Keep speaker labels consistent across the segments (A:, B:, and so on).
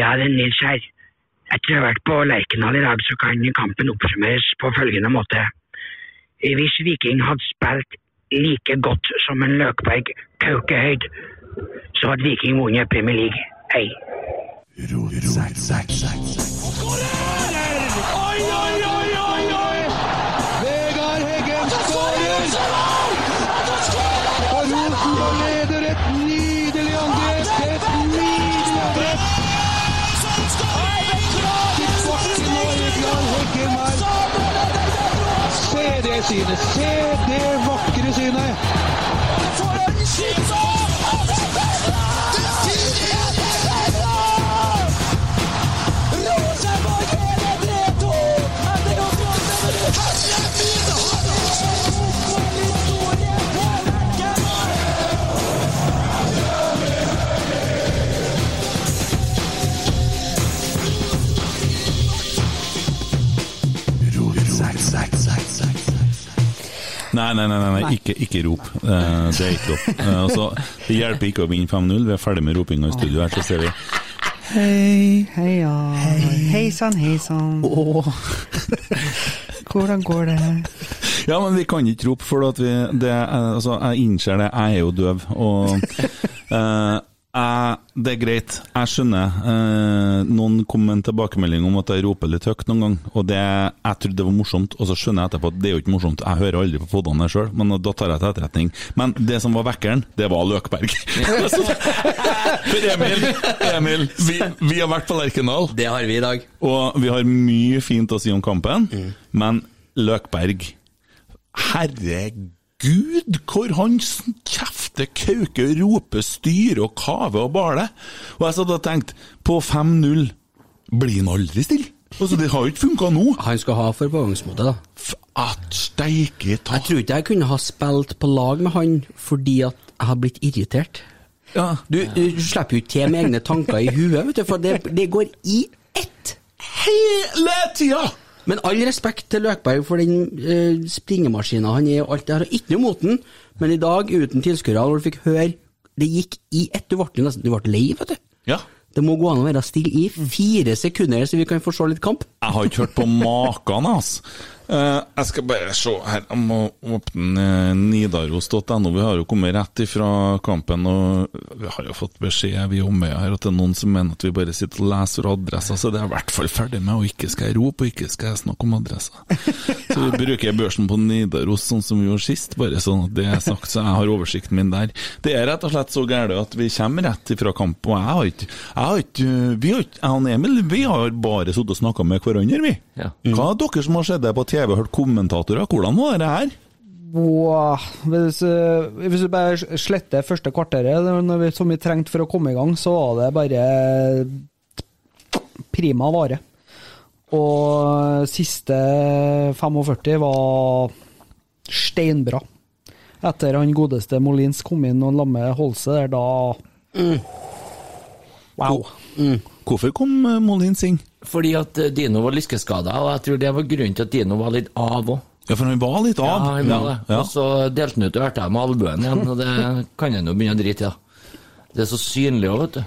A: Ja, det er Nils her. Etter å ha vært på Lerkendal i dag, så kan kampen oppsummeres på følgende måte. Hvis Viking hadde spilt like godt som en Løkberg Kaukehøyd, så hadde Viking vunnet Premier League. Hei.
B: Vegard Heggen skårer! Og Rosenborg leder et nydelig angrep! Et nydelig angrep! Tilbake nå, Vegard Heggen her. Se det synet! Se det vakre synet!
C: Nei, nei, nei, nei, nei. Ikke, ikke rop. Eh, det er ikke lov. Eh, altså, det hjelper ikke å vinne 5-0. Vi er ferdig med ropinga i studio her, så ser vi.
D: Heia. Hei sann, hei sann. Hvordan går det?
C: Ja, men vi kan ikke rope, for at vi det, er- altså, jeg innser det. Jeg er jo døv, og eh, jeg, Det er greit. Jeg skjønner. Eh, noen kom med en tilbakemelding om at jeg roper litt høyt noen gang, og det, jeg trodde det var morsomt, og så skjønner jeg etterpå at det er jo ikke morsomt. Jeg hører aldri på podene sjøl, men da tar jeg til etterretning. Men det som var vekkeren, det var Løkberg. For Emil, Emil vi, vi har vært på Lerkendal.
E: Det har vi i dag.
C: Og vi har mye fint å si om kampen, men Løkberg Herregud, hvor han s- kjefter, kauker, roper, styrer og kaver og baler. Og jeg satt og tenkte, på 5-0 blir han aldri stille? Altså, det har jo ikke funka nå.
E: Han skal ha for pågangsmote, da.
C: F- At steike ta
E: Jeg tror ikke jeg kunne ha spilt på lag med han fordi at jeg har blitt irritert.
C: Ja.
E: Du, du slipper jo ikke til med egne tanker i huet, vet du, for det, det går i ett.
C: Hele tida!
E: Men all respekt til Løkberg for den uh, springemaskina han er og alt det her, og ikke noe mot den, men i dag, uten tilskuere, hvor du fikk høre Det gikk i ett. Du ble jo nesten du ble lei, vet du.
C: Ja.
E: Det må gå an å være stille i fire sekunder, så vi kan få se litt kamp.
C: Jeg har ikke hørt på maken, ass. Eh, jeg skal bare se her Jeg må åpne eh, nidaros.no. Vi har jo kommet rett ifra kampen, og vi har jo fått beskjed vi Omøya her at det er noen som mener at vi bare sitter og leser fra adresser, så det er jeg i hvert fall ferdig med. Og ikke skal jeg rope, og ikke skal jeg snakke om adresser. Så vi bruker børsen på Nidaros sånn som vi gjorde sist, bare sånn at det er sagt, så jeg har oversikten min der. Det er rett og slett så gærent at vi kommer rett ifra kamp, og jeg har ikke Jeg har ikke, vi har ikke jeg og Emil vi har bare sittet og snakka med hverandre, vi.
F: Ja.
C: Hva er dere som har sett det på TV, hørt kommentatorer? Hvordan var det her?
D: Wow. Hvis, eh, hvis du bare sletter første kvarteret, det var når vi, som vi trengte for å komme i gang, så var det bare prima vare. Og siste 45 var steinbra. Etter han godeste Molins kom inn og la med Holse der, da Wow.
C: Hvorfor kom eh, Molin Singh?
F: Fordi at eh, Dino var lyskeskada, og jeg tror det var grunnen til at Dino var litt av òg.
C: Ja, for han var litt
F: Ja,
C: av.
F: han var det.
C: Ja.
F: Og så delte han ut ørta med albuen igjen, og det kan han jo begynne å drite i. da. Det er så synlig òg, vet du.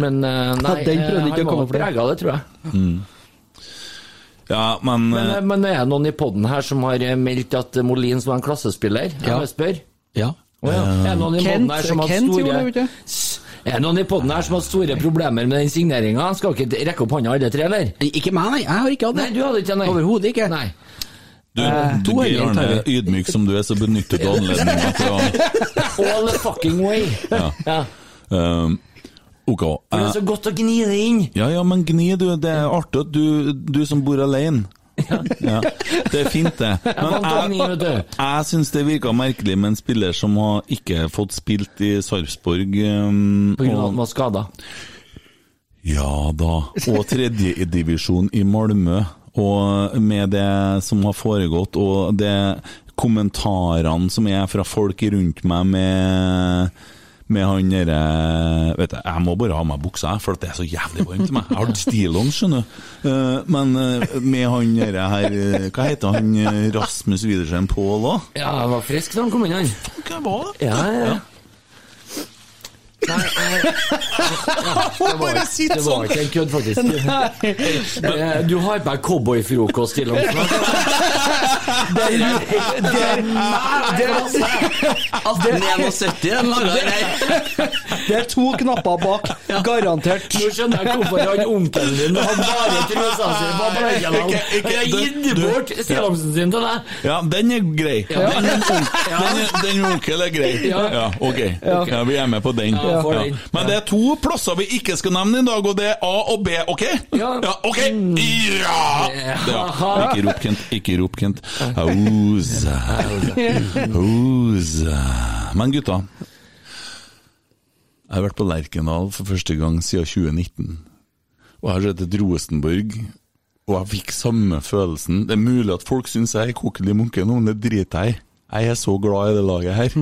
F: Men eh,
D: Mm.
F: nei,
D: Ja, den
F: eh,
D: prøvde ikke å
F: han
D: komme
F: var
D: for det.
F: prega av det, tror jeg.
C: ja, men,
F: Men, eh,
C: eh,
F: men er det noen i poden her som har eh, meldt at eh, Molins var en klassespiller? Jeg
E: Ja.
F: bare spør.
E: Ja.
F: Å ja. Er det noen i
D: Eh. Kent-
F: podden her som har
D: Kent gjorde det,
F: store
D: vet du.
F: S- Er det noen i podden her som har store problemer med den signeringa? Skal ikke rekke opp hånda alle tre, eller?
E: Ikke meg, nei. Jeg har ikke hatt det.
F: Nei, du hadde ikke det, nei.
E: Overhodet ikke.
F: Nei.
C: du,
F: eh,
C: du
E: to
C: Geir
E: øyne tar
C: Arne, ydmyk som du er, så benytter du anledningen til å
F: All the fucking way. Ja.
C: Eh, Ok.
F: Det
C: eh,
F: er så godt å gni det inn.
C: Ja, ja, men gni du, det er artig at du, du som bor alene. Ja. Det er fint, det.
F: vant å gni,
C: jeg,
F: vet du.
C: jeg syns det virka merkelig med en spiller som har ikke fått spilt i Sarpsborg. Um,
F: På grunn av at han var skada.
C: ja da. Og tredjedivisjon i Malmö. Og med det som har foregått, og det kommentarene som er fra folk rundt meg med med han derre Vet du, jeg må bare ha meg buksa, jeg, for at det er så jævlig varmt i meg. Jeg har stillongs, skjønner du. Eh, Men eh, med han derre her eh, Hva heter han eh, Rasmus Widersen Pål òg?
F: Ja, han var frisk da han kom inn, han.
C: Hva var det?
F: Ja, ja. Nei, Det var, det var ikke en kødd, faktisk. Eh, Du har på deg cowboyfrokost til og med. Det er det er- det er-
E: 1871 den laga der.
D: Det er to knapper bak, garantert.
F: Nå skjønner jeg hvorfor han onkelen din har bare trusa si på Bløydalen.
C: Ikke- ikke-
F: Han har gitt
C: du-
F: bort stilamsen sin til deg.
C: Ja, den er grei. Den, er onk- den, er, den onkel er grei. Ja,
F: Ja.
C: ok. Ja, vi er med på den.
F: Ja, for den.
C: Men det er to plasser vi ikke skal nevne i dag, og det er A og B, ok?
F: Ja. Mm.
C: ok! Ja! ja. Ikke rop, Kent. Ikke rop, Kent. Oza. Oza. Men gutta, jeg har vært på Lerkendal for første gang siden 2019. Og jeg har sett et Rosenborg, og jeg fikk samme følelsen. Det er mulig at folk syns jeg er kokkelig munke nå, men det driter jeg i. Jeg er så glad i det laget her.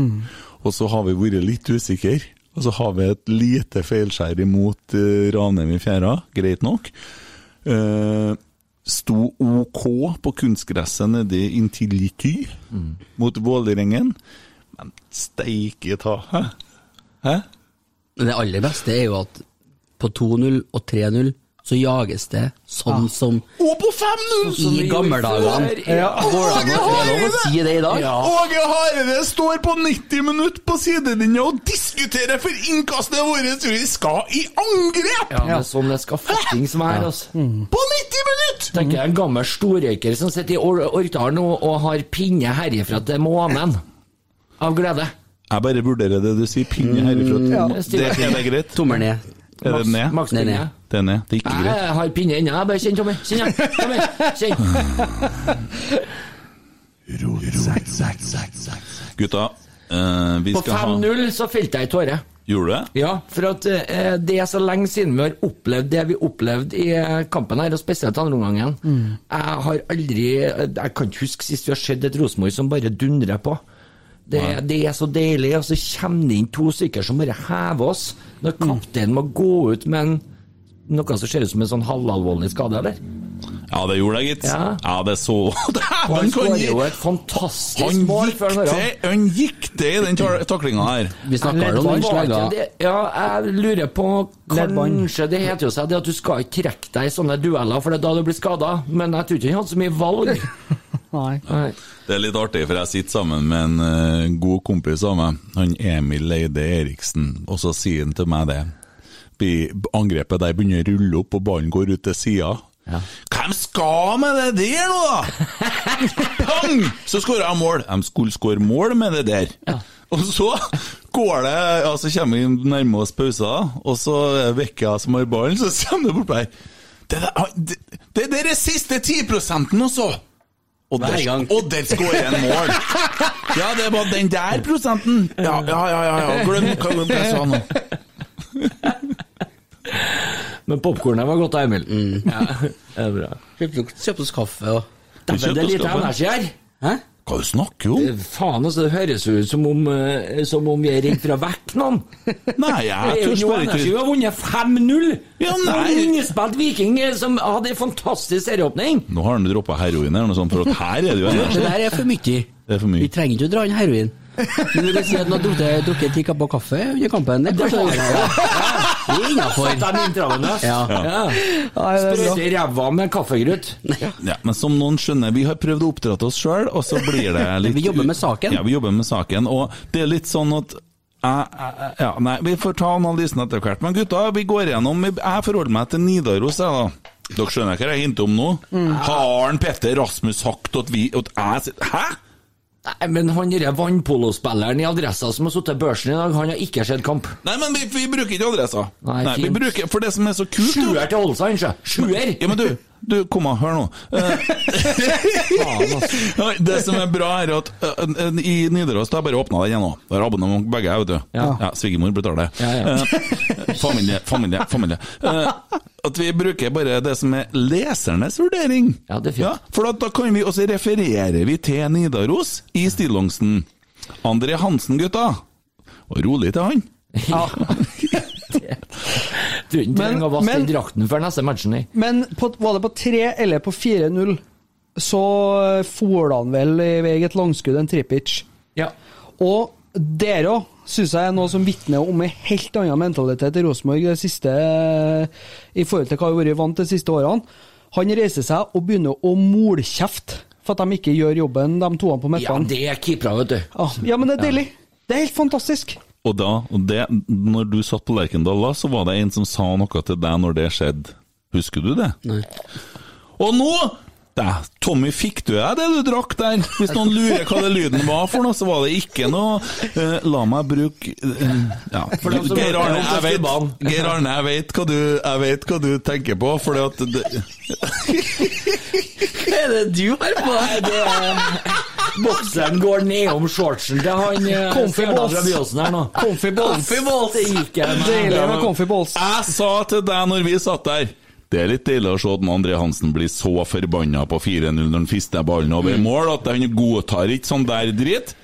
C: Og så har vi vært litt usikre. Og så har vi et lite feilskjær imot eh, Ranheim i fjæra, greit nok. Eh, sto OK på kunstgresset nede inntil Ty mot Vålerengen. Men steike ta, hæ? Hæ?
E: Men det aller beste er jo at på 2-0 og 3-0 så jages det sånn som
C: Og på 5-0!
E: i gamle dager.
D: Ja.
E: Går det an å- er det lov å si det i dag?
C: Åge Hareide står på 90 minutter på sidelinja og diskuterer for innkastet vårt! Vi skal i angrep!
F: Ja, men sånn det skal fuckings være, altså.
C: På 90 minutter!
F: Tenker jeg en gammel storrøyker som sitter i Or- Orkdal nå og har pinne herifra til månen. Av glede.
C: Jeg bare vurderer det du sier. Pinne herifra. til-
F: jeg
C: det,
F: stiller
C: er det greit?
E: Tommel ned.
C: Er det ned?
F: Maks
E: Nei, nei.
F: pinne.
C: Det er ned. Det er ikke greit.
F: Jeg har pinne ennå, jeg. Bare kjenn, Tommy. Kjenn, jeg. Tommy. Kjenn.
C: Gutta, eh, vi
F: På
C: skal ha
F: 5-0 så felte jeg ei tåre.
C: Gjorde du det?
F: Ja, for at eh, det er så lenge siden vi har opplevd det vi opplevde i eh, kampen her, og spesielt andre omgangen.
C: Mm.
F: Jeg har aldri eh, Jeg kan ikke huske sist vi har sett et Rosenborg som bare dundrer på. Det, det er så deilig, og så kommer det inn to stykker som bare hever oss. Når
C: Mm.
F: kapteinen må gå ut med en, noe som ser ut som en sånn halvalvorlig skade, eller?
C: Ja, det gjorde jeg, gitt.
F: Ja.
C: Ja, det så
F: Og
C: Dæven,
F: han
C: kan
F: skårer
C: gi
F: jo et fantastisk
C: Han
F: mål
C: gikk
F: før han
C: til, han gikk til i den tar- taklingen her.
E: Vi snakka jo om den
F: Var
E: slegga.
F: ikke det- Ja, jeg lurer på
D: Leddbånd.
F: Kanskje det heter jo seg det at du skal ikke trekke deg i sånne dueller, for det er da du blir skada. Men jeg tror ikke han hadde så mye valg.
D: Nei.
F: Nei.
C: Det er litt artig, for jeg sitter sammen med en eh, god kompis av meg, han Emil Eide Eriksen, og så sier han til meg det. Bi- Angrepet der begynner å rulle opp, og ballen går ut til sida. Hvem skal med det der nå, da?! Pang! Så skårer jeg mål. De skulle skåre mål med det der. Og så går det, ja, så kommer vi nærme oss pausen, og så er det Vekka som har ballen, så kommer det bort der. Det der, han- det, det der er siste altså. 10 også! Og der,
E: Hver gang.
C: og der skårer en mål! Ja, det var den der prosenten! Ja, ja, ja, ja, ja. glem hva hva jeg sa nå.
F: Men popkornet var godt, da, Emil.
E: Mm.
F: Ja, det er bra.
E: Kjøpte kjøpte oss kaffe og
F: Dæven, det er lite
C: kjøpte
F: energi her.
E: Hæ?
C: Hva du snakker du om?
F: Faen, altså, det høres jo ut som om, eh, som om vi er redd for å vekke noen.
C: Nei, jeg
F: Det er
C: tør
F: jo
C: bare
F: energi. Vi
C: ikke
F: har vunnet 5-0!
C: Ja,
F: Det var
C: nei.
F: en Innspilt Viking eh, som hadde en fantastisk serieåpning.
C: Nå har han droppa heroin eller noe sånt, for at her er det jo
E: Det
C: energi.
E: der er for mye.
C: Det er for
E: Vi
C: mye.
E: trenger ikke å dra inn heroin. Men du kan si at han har drukket- drukket ti kapper kaffe under kampen. Det sånn- er kanskje Ja, Det er
F: Satt
E: innafor.
F: dem intravenøst.
E: Ja.
F: Ja.
D: Nei, det er bra.
F: Sprøyte i ræva med kaffegrøt.
C: Ja, men som noen skjønner, vi har prøvd å oppdra oss sjøl, og så blir det litt
E: Vi jobber med saken.
C: Ja, vi jobber med saken, og det er litt sånn at jeg- jeg- ja, nei, Vi får ta analysen etter hvert. Men gutta, vi går gjennom Jeg forholder meg til Nidaros, jeg, da. Dere skjønner hva jeg hinter om nå?
E: Mm.
C: Har han Petter Rasmus sagt at vi at jeg sier- Hæ?!
F: Nei, men han derre vannpolospilleren i Adressa som har sittet i børsen i dag, han har ikke sett kamp.
C: Nei, men vi, vi bruker ikke adressa.
F: Nei,
C: Nei, vi
F: fint.
C: bruker, for det som er så kult
F: Sjuer til Olsa, han, sjø. Sjuer!
C: Ja, men du, du, kom og hør nå. Eh, det som er bra, er at eh, eh, i Nidaros da har jeg bare åpna den igjen nå. Det er abonnement begge, vet du. Ja.
F: Ja.
C: Svigermor betaler.
F: Ja, ja.
C: Eh, familie, familie, familie. Eh, at vi bruker bare det som er lesernes vurdering.
F: Ja, det er fint.
C: for at da kan vi også referere vi til Nidaros i stillongsen. André Hansen, gutta. Og rolig til han.
F: Tror ikke
D: Men-
F: trenger å vaske
D: men-
F: den drakten før neste matchen. nei.
D: Men på, var det på 3 eller på 4-0, eh, så får han vel i eget langskudd en Trippic.
F: Ja.
D: Og Der òg syns jeg er noe som vitner om en helt annen mentalitet i Rosenborg det siste, i forhold til hva vi har vært vant til de siste årene. Han reiser seg og begynner å molkjefte for at de ikke gjør jobben, de toene på
F: Ja,
D: midtbanen.
F: det er keepere, vet du.
D: Ja, ja, men det er deilig! Det er helt fantastisk.
C: Og da, og det, når du satt på Lerkendal da, så var det en som sa noe til deg når det skjedde. Husker du det?
E: Nei.
C: Og nå Dæ, Tommy, fikk du deg det du drakk der? Hvis noen lurer hva det lyden var for noe, så var det ikke noe eh, La meg bruke eh, ja.
F: For dem som
C: Geir Arne, jeg
F: hørte om
C: vet,
F: Tøftebanen.
C: Geir Arne, jeg vet hva du, jeg vet hva du tenker på, fordi at det,
F: Hva er det du har på deg? Bokseren går nedom shortsen til han eh,
D: Comfy
F: stjerna
D: balls.
F: fra Byåsen her nå.
D: Comfy balls.
F: Comfy balls. Det gikk jeg med.
D: Deilig med comfy balls.
C: Jeg sa til deg når vi satt der det er litt deilig å se at André Hansen blir så forbanna på 4-0 når han fister ballen over
D: Mm.
C: mål, at han godtar ikke sånn der dritt.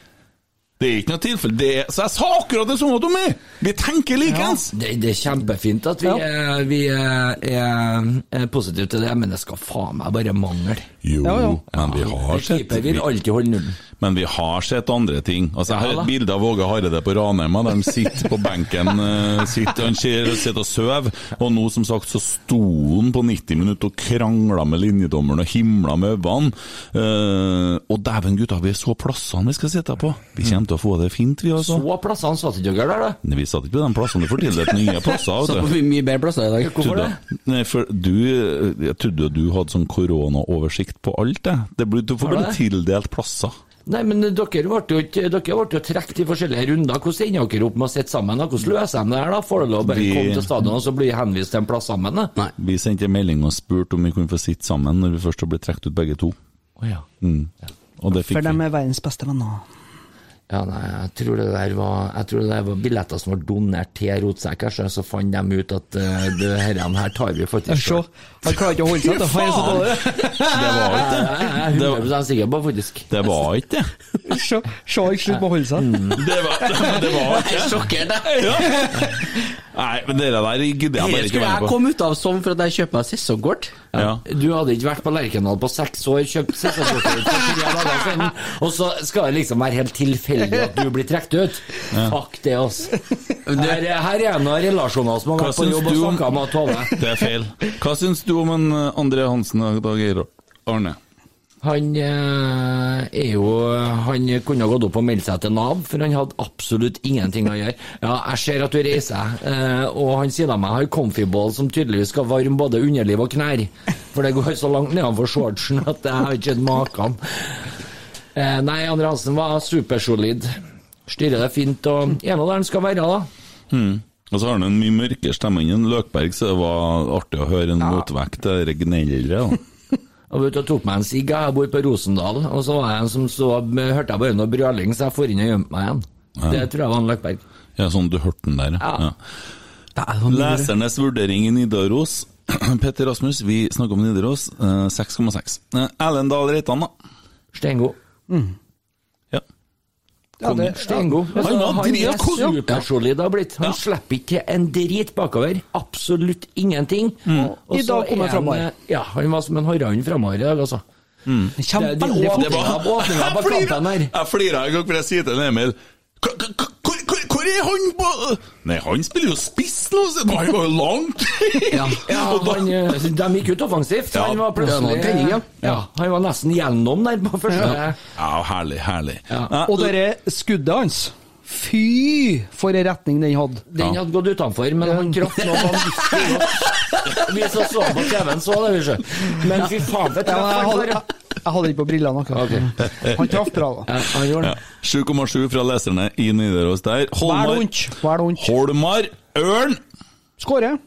C: Det er ikke noe tilfelle. Det er, så jeg sa akkurat det samme, Tommy! Vi tenker likeens!
F: Det, det er kjempefint at vi,
D: Ja.
F: er, vi er, er, er positive til det, men det skal faen meg bare mangle.
C: Jo,
D: Ja, ja.
C: men vi
F: En
C: har sett
F: Keeper vil alltid holde nullen.
C: Men vi har sett andre ting. Altså, jeg
F: Ja,
C: har
F: da.
C: et bilde av Åge Hareide på Ranheima, der han sitter på benken eh, sitter, han sier- sitter og sover. Og nå, som sagt, så sto han på 90 minutter og krangla med linjedommeren og himla med øynene. Eh, og dæven, gutta, vi er så plassene vi skal sitte på! Vi kommer til å få det fint, vi altså.
F: Mm. Så plassene satt ikke dere der, da.
C: Men Vi satt ikke på de plassene du får tildelt nye plasser.
E: Satt
C: vet
E: på
C: du.
E: mye- mye bedre plasser i dag.
F: Hvorfor det?
C: Trodde- Nei, for du, jeg trodde du hadde sånn koronaoversikt på alt, jeg. Det blir- Du får
F: Har du
C: bare tildelt plasser.
F: Nei, men dere ble jo ikke- dere ble jo trukket i forskjellige runder. Hvordan ender dere opp med å sitte sammen? da? Hvordan løser de det her, da? Får dere lov å bare
C: Vi-
F: komme til stadion og så bli henvist til en plass sammen? da?
E: Nei.
C: Vi sendte en melding og spurte om vi kunne få sitte sammen når vi først ble trukket ut begge to. Mm.
F: Å ja.
C: Og det fikk
D: For de
C: vi.
D: er verdens beste venner.
F: Ja, nei, jeg tror det der var, jeg tror det der var billetter som var donert til rotsekker, så, så fant de ut at eh, det her, dem her tar vi faktisk
D: Se,
F: selv.
D: han klarer ikke å holde seg til han er så dårlig.
C: Det var ikke det.
F: Jeg er 100 sikker på faktisk.
C: Det var ikke det.
D: Se, se han slutter med å holde seg.
C: Det var, det var ikke det.
E: Sjokkert, jeg.
C: Ja. Nei, men dere der gidder jeg bare
E: Dette
C: ikke
E: skulle
C: være
E: jeg
C: med på.
E: komme ut av som for at jeg kjøper meg sesongkort.
C: Ja.
F: Du hadde ikke vært på Lerkendal på seks år, kjøpt sesongkortet ditt for tre dager siden, og så skal det liksom være helt tilfeldig at du blir trukket ut? Fuck det, altså. Her, her er en av relasjonene som har
C: Hva
F: vært på
C: syns
F: jobb og
C: du om-
F: snakket med Tove.
C: Det er feil. Hva syns du om en eh, André Hansen og Dag Geir Arne?
F: Han eh, er jo Han kunne ha gått opp og meldt seg til Nav, for han hadde absolutt ingenting å gjøre. Ja, jeg ser at du reiser deg, eh, og han sier da meg har comfyball som tydeligvis skal varme både underliv og knær. For det går så langt nedenfor shortsen at jeg har ikke sett maken. Eh, nei, Andre Hansen var supersolid. Styrer det fint og er nå der han skal være, da.
C: Og så har han Altså, en mye mørkere stemme enn en Løkberg, så det var artig å høre en motvekt til det gnellere. da.
F: Jeg var ute og tok meg en sigg, jeg bor på Rosendal, og så var jeg en som så, hørte jeg bare noe brøling, så jeg for inn og gjemte meg igjen. Det tror jeg var en Løkberg.
C: Ja, sånn du hørte den der.
F: Ja.
C: Ja. Lesernes vurdering i Nidaros. Petter Rasmus, vi snakker om Nidaros. eh, 6,6. Eh, Erlend Dahl Reitan, da.
F: Stengo.
C: Ja.
D: Ja, det,
F: Stengo.
C: var dritgod.
F: er supersolid har blitt. Han slipper ikke en drit bakover. Absolutt ingenting. Og
D: I
F: så
D: dag kom
F: er
D: han framover.
F: eh, Ja, han var som en harehund framover i dag, altså.
D: det kommer
F: Det- de
D: veldig
F: åpner
D: fort.
F: opp åpninga på
C: flirer-
F: kampen her.
C: jeg flirer en gang for jeg sier til Emil "Hva- hva- hva- hvor, hvor, hvor er han på Nei, han spiller jo spiss nå, så han var jo langt!
F: Ja,
C: Og da-
F: han, eh, de gikk ut offensivt.
C: Ja.
F: Han var
E: Det var
F: plutselig
E: en tenning, ja.
F: ja, Han var nesten gjennom der på første
C: ja, herlig, herlig.
F: Ja.
C: Eh,
D: Og det skuddet hans Fy, for en retning den hadde.
F: Den hadde gått utenfor, men han traff noe vanvittig godt. Vi som så på TV-en, så det, vi sjø. Men fy faen, for et
D: Ja, men
F: treff
D: jeg,
F: han
D: hadde,
F: bare.
D: jeg, jeg hadde ikke på brillene akkurat. Han traff bra, da.
F: Ja, Han gjorde det.
C: ja. 7,7 fra leserne i Nidaros der.
D: Hva er det
C: Holmar,
D: ondt? Hva er det ondt?
C: Holmar Ørn!
D: Skårer.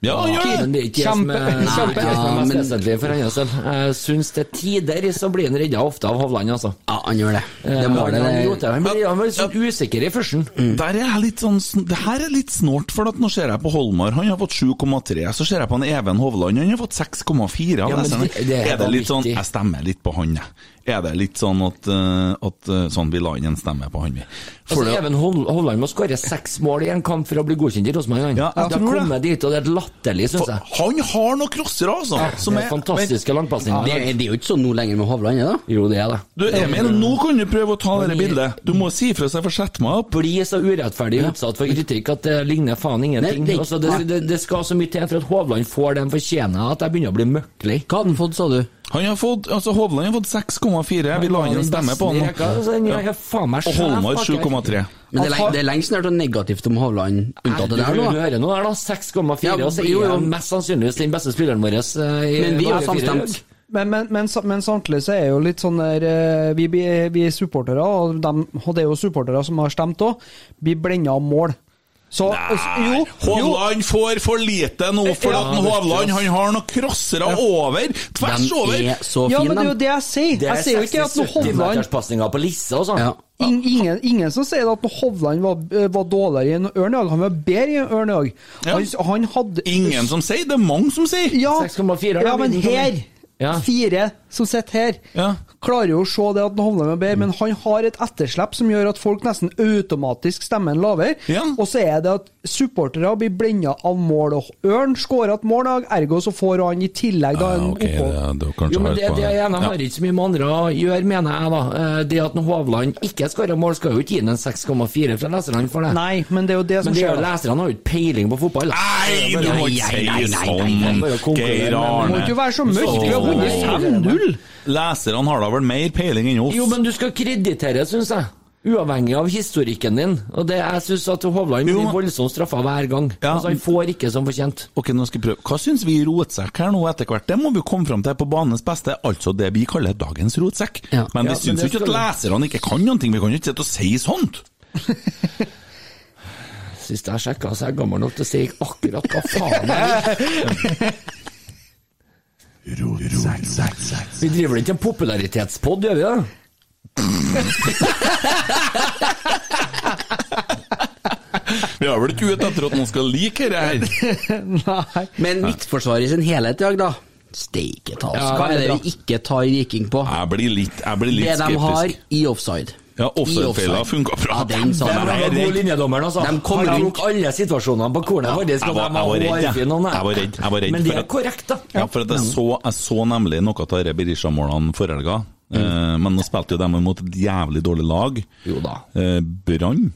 C: Ja, han gjør
F: Kimen
C: det!
F: blir ikke jeg som er-
D: Kjempe-
F: Nei,
D: kjempe-
F: ikke jeg som er mest
E: Ja, men-
F: vesentlig for hans del. Jeg syns til tider så blir han redda ofte av Hovland, altså.
E: Ja, han gjør det. Det
F: Eh,
E: målet
F: han,
E: det-
F: roter. han blir, han blir sånn usikker i førsten.
C: Der er jeg litt sånn, sn- det her er litt snålt, for at nå ser jeg på Holmar, han har fått 7,3. Så ser jeg på en Even Hovland, han har fått 6,4 av
F: Ja, men
C: leserne.
F: det- det er
C: er det litt sånn
F: vanvittig.
C: Jeg stemmer litt på han, jeg. er det litt sånn at, eh, at eh, sånn vil han en stemme på han vi. For
F: Altså,
C: det-
F: Even Hol- Holland må skåre seks mål i en kamp for å bli godkjent i Rosenborg.
C: Ja, jeg
F: han. det
C: tror
F: har
C: det.
F: kommet dit, og det er latterlig, syns
C: for
F: jeg.
C: han har noen crossere, altså! som
F: Altså. Det er fantastiske
E: Det,
F: langpasninger.
E: er- det er jo ikke sånn nå lenger med Hovland, er det?
F: Jo, det er det.
C: Du, Emil, nå kan du prøve å ta det bildet. Du må si fra så jeg får sett meg opp.
F: blir så urettferdig utsatt for kritikk at det ligner faen ingenting.
E: Nei, det-
F: altså, det, det, det skal så mye til for at Hovland får den fortjener at jeg begynner å bli møkkelig.
E: Hva hadde han fått, sa du?
C: Han har fått, altså Hovland har fått 6,4. Vi la inn en stemme på han. nå.
F: Altså, den er faen meg
C: Og
F: sjef,
C: Holmar
F: bak her.
C: 7,3.
E: Men det er, lenge, det er lenge siden jeg har hørt noe negativt om Hovland, unntatt det
F: Nei,
E: der
F: du
E: nå. da.
F: hører nå der, da. 6,4.
E: Ja,
F: og så
E: jo,
F: er
E: jo.
F: han mest sannsynligvis den beste spilleren vår. eh, i-
E: Men vi er
F: bare fire
E: samstemt.
F: lag.
D: Men, men, men, sa- men samtidig så er jo litt sånn der eh, Vi, blir- vi er supportere, og, dem, og det er jo supportere som har stemt òg, blir blenda av mål. Så
C: Nei,
D: jo, jo,
C: Hovland får for lite nå, for
D: Ja,
C: at han Hovland han har noen crossere over. Tvers
E: De
C: over!
E: er så
D: ja, men det
E: fine,
D: er jo
E: de.
D: det jeg sier.
F: Det
D: Jeg sier jo ikke at noe
F: 60-70
D: Hovland
F: meterspasninger på Lisse og sånn.
E: Ja.
D: Ing- ingen, ingen som sier at Hovland var, eh, var dårligere enn Ørn i dag. Han var bedre enn Ørn i dag. Han,
C: Ja.
D: han hadde
C: Ingen som sier, det er mange som sier.
D: Ja,
F: 6,4 er
D: ja
F: det
D: men
F: min
D: her!
F: kommentar. Ja.
D: Fire som sitter her,
C: Ja.
D: klarer jo å se det at Hovland var bedre, men han har et etterslep som gjør at folk nesten automatisk stemmer han lavere.
C: Ja.
D: Og så er det at supportere blir blenda av mål. Og Ørn skårer et mål, i dag, ergo så får han i tillegg
C: Ah,
D: da en opphold.
F: Jo, men det, det ene har ikke så mye med andre å gjøre, mener jeg, da. Eh, Det at Hovland ikke skårer mål, skal jo ikke gi ham en 6,4 fra leserne for det.
D: Nei, men det er jo det som
F: Men det er
D: skjer.
F: jo
D: da.
F: leserne har jo ikke peiling på fotball.
C: Nei, du må ikke si sånn,
F: Bare å konkludere,
C: Geir
F: men-
D: Det må
C: Arne. Sånn.
D: ikke være så mørkt, vi har vunnet 5-0!
C: Leserne har da vel mer peiling enn
F: Jo,
C: oss?
F: men du skal kreditere, syns jeg. Uavhengig av historikken din. Og det jeg syns at Hovland
C: Jo,
F: blir
C: men-
F: voldsomt straffa hver gang.
C: Ja.
F: Altså, han får ikke som fortjent.
C: Ok, nå skal jeg prøve. Hva syns vi i rotsekk her nå etter hvert? Det må vi jo komme fram til på banens beste, altså det vi kaller dagens rotsekk.
E: Ja.
C: Men
F: Ja,
C: vi
F: men
C: syns jo
F: det
C: ikke at leserne ikke kan noen ting, vi kan jo ikke sitte og si sånt.
F: Sist jeg sjekka, så er jeg gammel nok til å si akkurat hva faen jeg vil. Vi driver vel ikke en popularitetspod, gjør vi det?
C: Vi er vel ikke ute etter at noen skal like det her.
D: Nei.
E: Men midtforsvaret i sin helhet i dag, da. Steike ta oss.
F: Ja,
E: Hva er
F: det er
E: det vi ikke tar Viking på?
C: Jeg blir litt, jeg blir litt
E: Det de har
C: skeptisk.
E: i offside.
C: Ja,
E: I
C: offside-feila
E: offside.
C: funka bra.
E: Ja, den sa
C: Nei,
E: de.
F: Det var
C: jeg er
F: god
C: redd.
F: linjedommeren, altså.
E: De kom
F: Han
E: rundt.
F: tok alle situasjonene på kornet. for det skal
C: jeg var-
F: de ha
C: jeg var redd, ja.
F: hårfin, og nei.
C: Jeg var redd, jeg var redd
F: Men det
C: for
F: er
C: at-
F: korrekt, da.
C: Ja, for at jeg, så, jeg så nemlig noe av disse Berisha-målene forrige helga. Eh, men nå spilte jo de mot et jævlig dårlig lag.
F: Jo da.
C: Eh, Brann.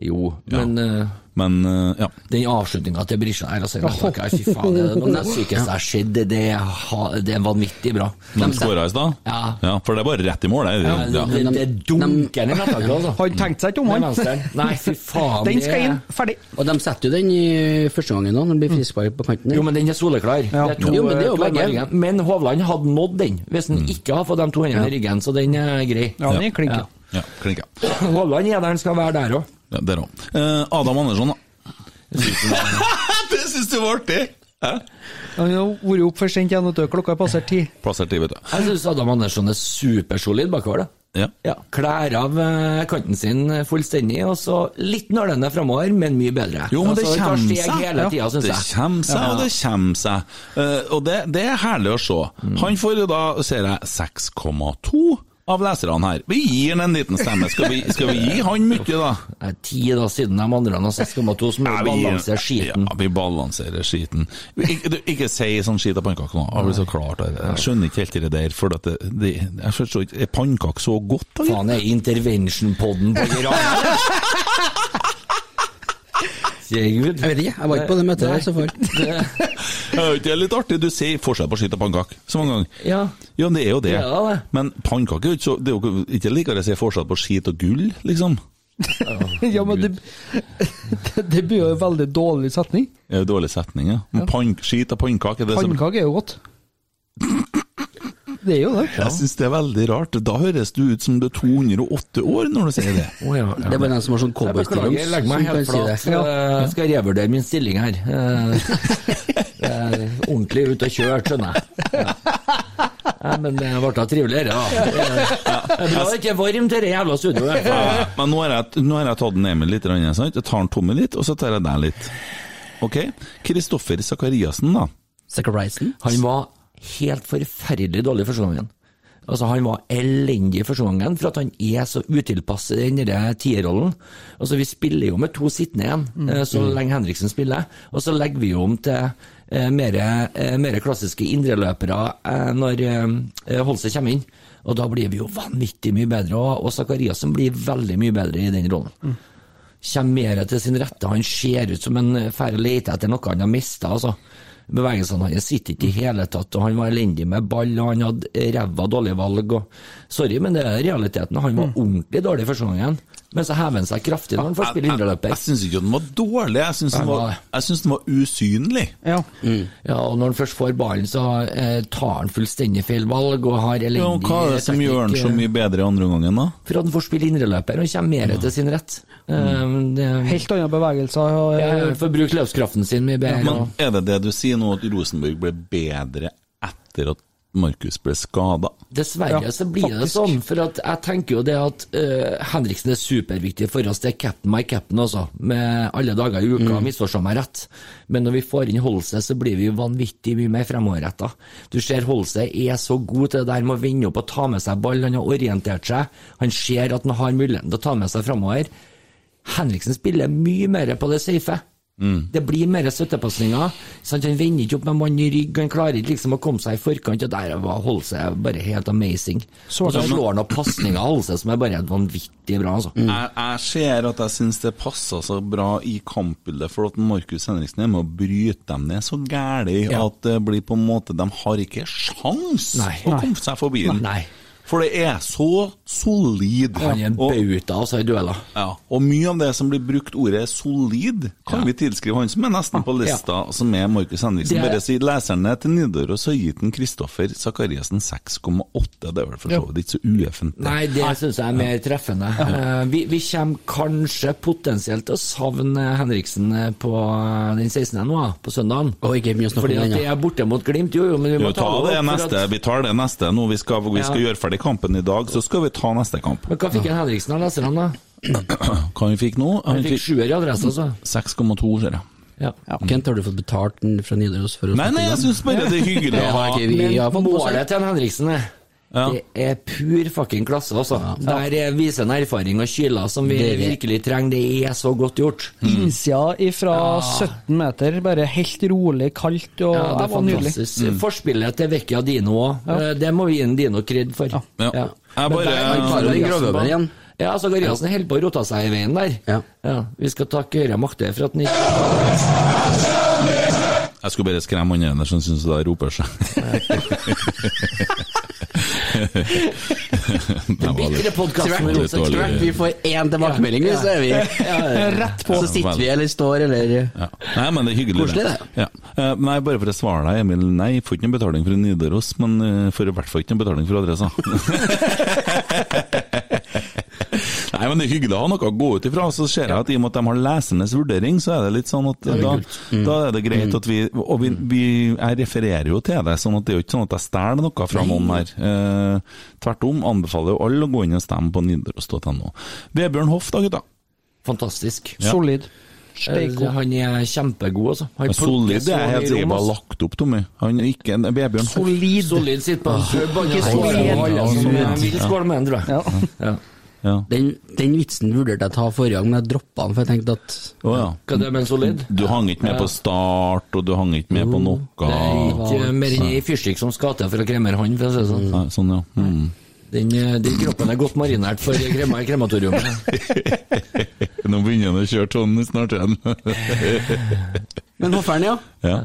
F: Jo, men eh,
C: Men eh, ja.
F: den avslutninga til Brisja her, altså, jeg vet ikke, fy faen, det er noe av det sykeste jeg har sett. Det, det, ha- det er vanvittig bra.
C: De skåra i stad?
F: Ja.
C: For det er bare rett i mål, det.
F: Det,
C: Ja.
F: det, det dunker ned i nettaket, altså.
D: Han tenkte seg ikke om,
F: Med
D: han.
F: venstre. Nei, fy faen.
D: Den
F: det-
D: skal inn, ferdig.
E: Og de setter jo den i første gangen da, når det blir frispark på kanten.
F: Jo, men den er soleklar. Det er to,
E: Jo, men det er jo Mm.
F: eh, klare
E: begge.
F: marginer. Men Hovland hadde nådd den, hvis han ikke hadde fått de to hendene i ryggen, så den er grei.
D: Ja, den er klink, ja.
C: ja Klinka.
F: Hovland er der han skal være der òg.
C: Ja, der òg. Eh, Adam Andersson, da. det syns du var artig! Hæ?
D: Han har vært opp for sent igjen, vet du. Klokka er passert ti.
C: Plassert i, vet du.
F: Jeg syns Adam Andersson er supersolid bakover. da.
C: Ja.
F: Ja, Klær av eh, kanten sin fullstendig, og så litt nølende framover, men mye bedre.
C: Jo, men det
F: Altså,
C: kommer
F: Det tar
C: seg.
F: steg hele tida, syns
C: Det
F: jeg.
C: kommer seg, og det kommer seg. Eh, og det, det er herlig å se.
F: Mm.
C: Han får jo da, ser jeg, 6,2 av leserne her. Vi gir han en liten stemme. Skal vi, skal vi gi han mye, da?
F: Det er ti da siden de andre har 6,2, som
C: Ja,
F: er
C: vi gir-
F: balanse skiten.
C: Ja, vi balanserer skiten. Ikke, du, ikke si sånn skit av pannekaker nå. Jeg blir så klart der. Jeg skjønner ikke helt det der. For at det, det, jeg forstår ikke Er pannekaker så godt, da? gitt?
F: Faen, er intervention-podden på Iran? Herregud.
E: Jeg vet ikke, jeg var ikke på det møtet der, så for.
C: Jeg vet ikke, Det er litt artig. Du sier forskjell på skitt og pannekaker så mange ganger.
F: Ja.
C: Ja, det er jo det.
F: Det er da det.
C: Men pannekaker er jo ikke så- det er jo ikke- ikke likere å si forskjell på skit og gull, liksom.
D: Ja, men det, det, det blir jo en veldig dårlig setning.
C: Det er jo dårlig setning, ja. Men pann, skit og pannekaker det er som-
D: Pannekake er jo godt. Det er jo det.
C: Jeg syns det er veldig rart. Da høres du ut som du er 208 år når du sier det.
F: Å, ja, ja.
E: Det er bare den som har sånn
F: Jeg beklager, jeg legger meg helt
E: cowboystillings.
F: flat.
E: Si det.
F: Eh, Jeg skal revurdere min stilling her. Eh, jeg er ordentlig ute og kjørt, skjønner jeg. Ja. Nei, men det ble da triveligere, da. Eh, Det er bra det ikke er varmt i det jævla studioet.
C: Ja, Men nå har jeg, nå har jeg tatt den Emil litt, grann, sant? jeg tar den Tommy litt, og så tar jeg deg litt. Ok? Kristoffer Sakariassen, da.
E: Zachariasen.
F: Han var helt forferdelig dårlig første gangen. Altså, han var elendig i første gangen, for at han er så utilpass i den der tierrollen. Altså, vi spiller jo med to sittende igjen, eh, så lenge Henriksen spiller. Og så legger vi jo om til eh, mer, eh, mer klassiske indreløpere eh, når eh, Holse kommer inn. Og da blir vi jo vanvittig mye bedre, og, og Zakariassen blir veldig mye bedre i den rollen kommer mer til sin rette. Han ser ut som en eh, færre leter etter noe han har mista. Altså. Bevegelsene hans sitter ikke i hele tatt, og han var elendig med ball, og han hadde ræva dårlige valg. Og... Sorry, men det er realiteten. Han
C: Mm.
F: var ordentlig dårlig første gangen, men så hever han seg kraftig når han får spille
C: Jeg, jeg,
F: indreløper.
C: jeg syns ikke den var dårlig, jeg syns den,
F: Nei,
C: var-
F: nei.
C: jeg synes den var usynlig.
D: Ja.
F: Ja, og når han først får ballen, så eh, tar han fullstendig feil valg og har elendig eh,
C: Ja, og hva er det som gjør den så mye bedre i andre omgangen, da?
F: For at han får spille indreløper, og kommer mer til sin rett.
C: Mm.
F: Eh, det-
D: Helt andre bevegelser. Eh, og-
F: Ja, Får bruke løpskraften sin mye bedre. og-
C: Men er det det du sier nå, at Rosenborg ble bedre etter at Markus ble skada?
F: Dessverre
D: Ja,
F: så blir det
D: faktisk.
F: sånn, for at jeg tenker jo det at eh, Henriksen er superviktig for oss. Det er cap'n my cap'n, altså. Med alle dager i uka,
D: Mm.
F: misforstå meg rett. Men når vi får inn Holse, så blir vi vanvittig mye mer fremoverretta. Du ser Holse er så god til det der med å vende opp og ta med seg ball. Han har orientert seg. Han ser at han har muligheten til å ta med seg fremover. Henriksen spiller mye mer på det safe. Det blir mer støttepasninger. sant? Han vender ikke opp med mannen i rygg, han klarer ikke liksom å komme seg i forkant. Og der var Holse bare helt amazing.
D: Så
F: og så
D: det-
F: slår han opp pasninger av Holse som er bare vanvittig bra, altså.
E: Mm.
C: Jeg, jeg ser at jeg syns det passa så bra i kampbildet, for at Markus Henriksen er med å bryte dem ned så gæli
F: Ja.
C: at det blir på en måte De har ikke sjans
F: Nei.
C: å komme seg forbi den.
F: Nei.
C: For det er så solid.
F: Han er en
C: Og-
F: bauta altså, i dueller.
C: Ja, og mye av det som blir brukt ordet solid, kan
F: Ja.
C: vi tilskrive han som er nesten på lista, som er Markus Henriksen.
F: Det-
C: Bare si leserne til Nidaros har gitt den Kristoffer Sakariassen 6,8. Det er vel for så vidt ikke så ueffent. det.
F: Nei, det syns jeg er mer treffende. Eh, Vi, vi kommer kanskje potensielt til å savne Henriksen eh, på eh, den 16. nå, eh, på søndagen.
E: Og ikke begynn å snakke
F: Fordi
E: om
F: at
E: den,
F: det
E: ja.
F: er borte mot Glimt, jo, jo, men vi
C: Jo,
F: må
C: ta
F: opp,
C: det
F: for
C: neste.
F: at-
C: Vi tar det neste nå. Vi skal, vi skal
F: Ja.
C: gjøre ferdig kampen i dag, så skal vi ta neste kamp.
F: Men hva fikk en Henriksen av leserne, da?
C: Hva han fikk nå?
F: Han fikk sjuer i adresse, altså.
C: 6,2, ser jeg.
F: Ja.
E: Kent, har du fått betalt den fra Nidaros for å
C: Nei,
E: snakke om
C: nei, jeg
E: den?
C: syns bare det er hyggelig å
E: Det
C: ha
E: har ikke vi
F: Men
E: har fått på
F: målet
E: seg.
F: til en Henriksen er Det er pur fucking klasse, altså. Der eh, viser en erfaring og kyler som vi
E: Det er det.
F: virkelig trenger. Det er så godt gjort.
D: Innsida ifra 17 meter, bare helt rolig, kaldt, og
F: Ja, det
D: det
F: er
D: var nydelig.
F: fantastisk. Forspillet til Vecchia Dino òg, det må vi gi en Dino kred for.
C: Ja.
F: Ja.
C: Jeg
F: Men
C: bare-
F: der er
C: Han tar
E: jo den
F: Gariassen
E: grovøveren
F: på.
E: igjen.
F: Ja, altså Gariassen holder på å rote seg i veien der.
E: Ja.
F: Vi skal takke Øre Makte for at den ikke
C: Jeg skulle bare skremme han ene som syns det roper seg. Det var litt-
F: Bitre podkast
C: Det var litt dårlig.
E: Tvert, vi får én tilbakemelding, så er vi
D: Rett på.
E: Så sitter vi eller står eller
C: Ja. Nei, men det er hyggelig.
E: Koselig,
C: Ja. Eh, nei, bare for å svare deg, Emil. Nei, jeg får ikke noen betaling for Nidaros, men eh, får i hvert fall ikke noen betaling for adressa. nei, men det er hyggelig å ha noe å gå ut ifra. Så ser jeg at i og med at de har lesernes vurdering, så er Mm. det litt sånn at da, da er det greit at vi Og vi, vi, jeg refererer jo til det, sånn at det er jo ikke sånn at jeg stjeler noe fra noen her. Eh, tvert om anbefaler jo alle å gå inn og stemme på nidaros.no. Vebjørn Hoff, da, gutta.
F: Fantastisk.
D: Solid.
F: Eh,
D: Steiko.
F: Han er kjempegod, altså. Han
C: Ja, Solid det er jeg helt sikker på
F: på
C: har lagt opp, Tommy. Han er ikke en Vebjørn Hoff.
D: Solid.
F: altså, Solid Ah, sitter på en pub, han
D: Ikke
F: er skåla
D: solid.
F: med alle som
C: Ja.
F: vil skåle med han, tror jeg.
D: Ja.
F: Ja.
C: Ja.
E: Den, den vitsen vurderte jeg å ta forrige gang, men jeg droppa den, for jeg tenkte at
C: Å, ja.
F: Hva er det med en solid?
C: Du hang ikke med på start, og du hang ikke med på noe.
F: Det er ikke mer enn ei fyrstikk som skal til for å kremere han, for å si det sånn.
C: Nei, sånn, ja. Mm.
F: Den, eh, den kroppen er godt marinert for krema i krematoriet.
C: Nå begynner han å kjøre sånn snart igjen.
E: Men hofferen, ja.
C: ja.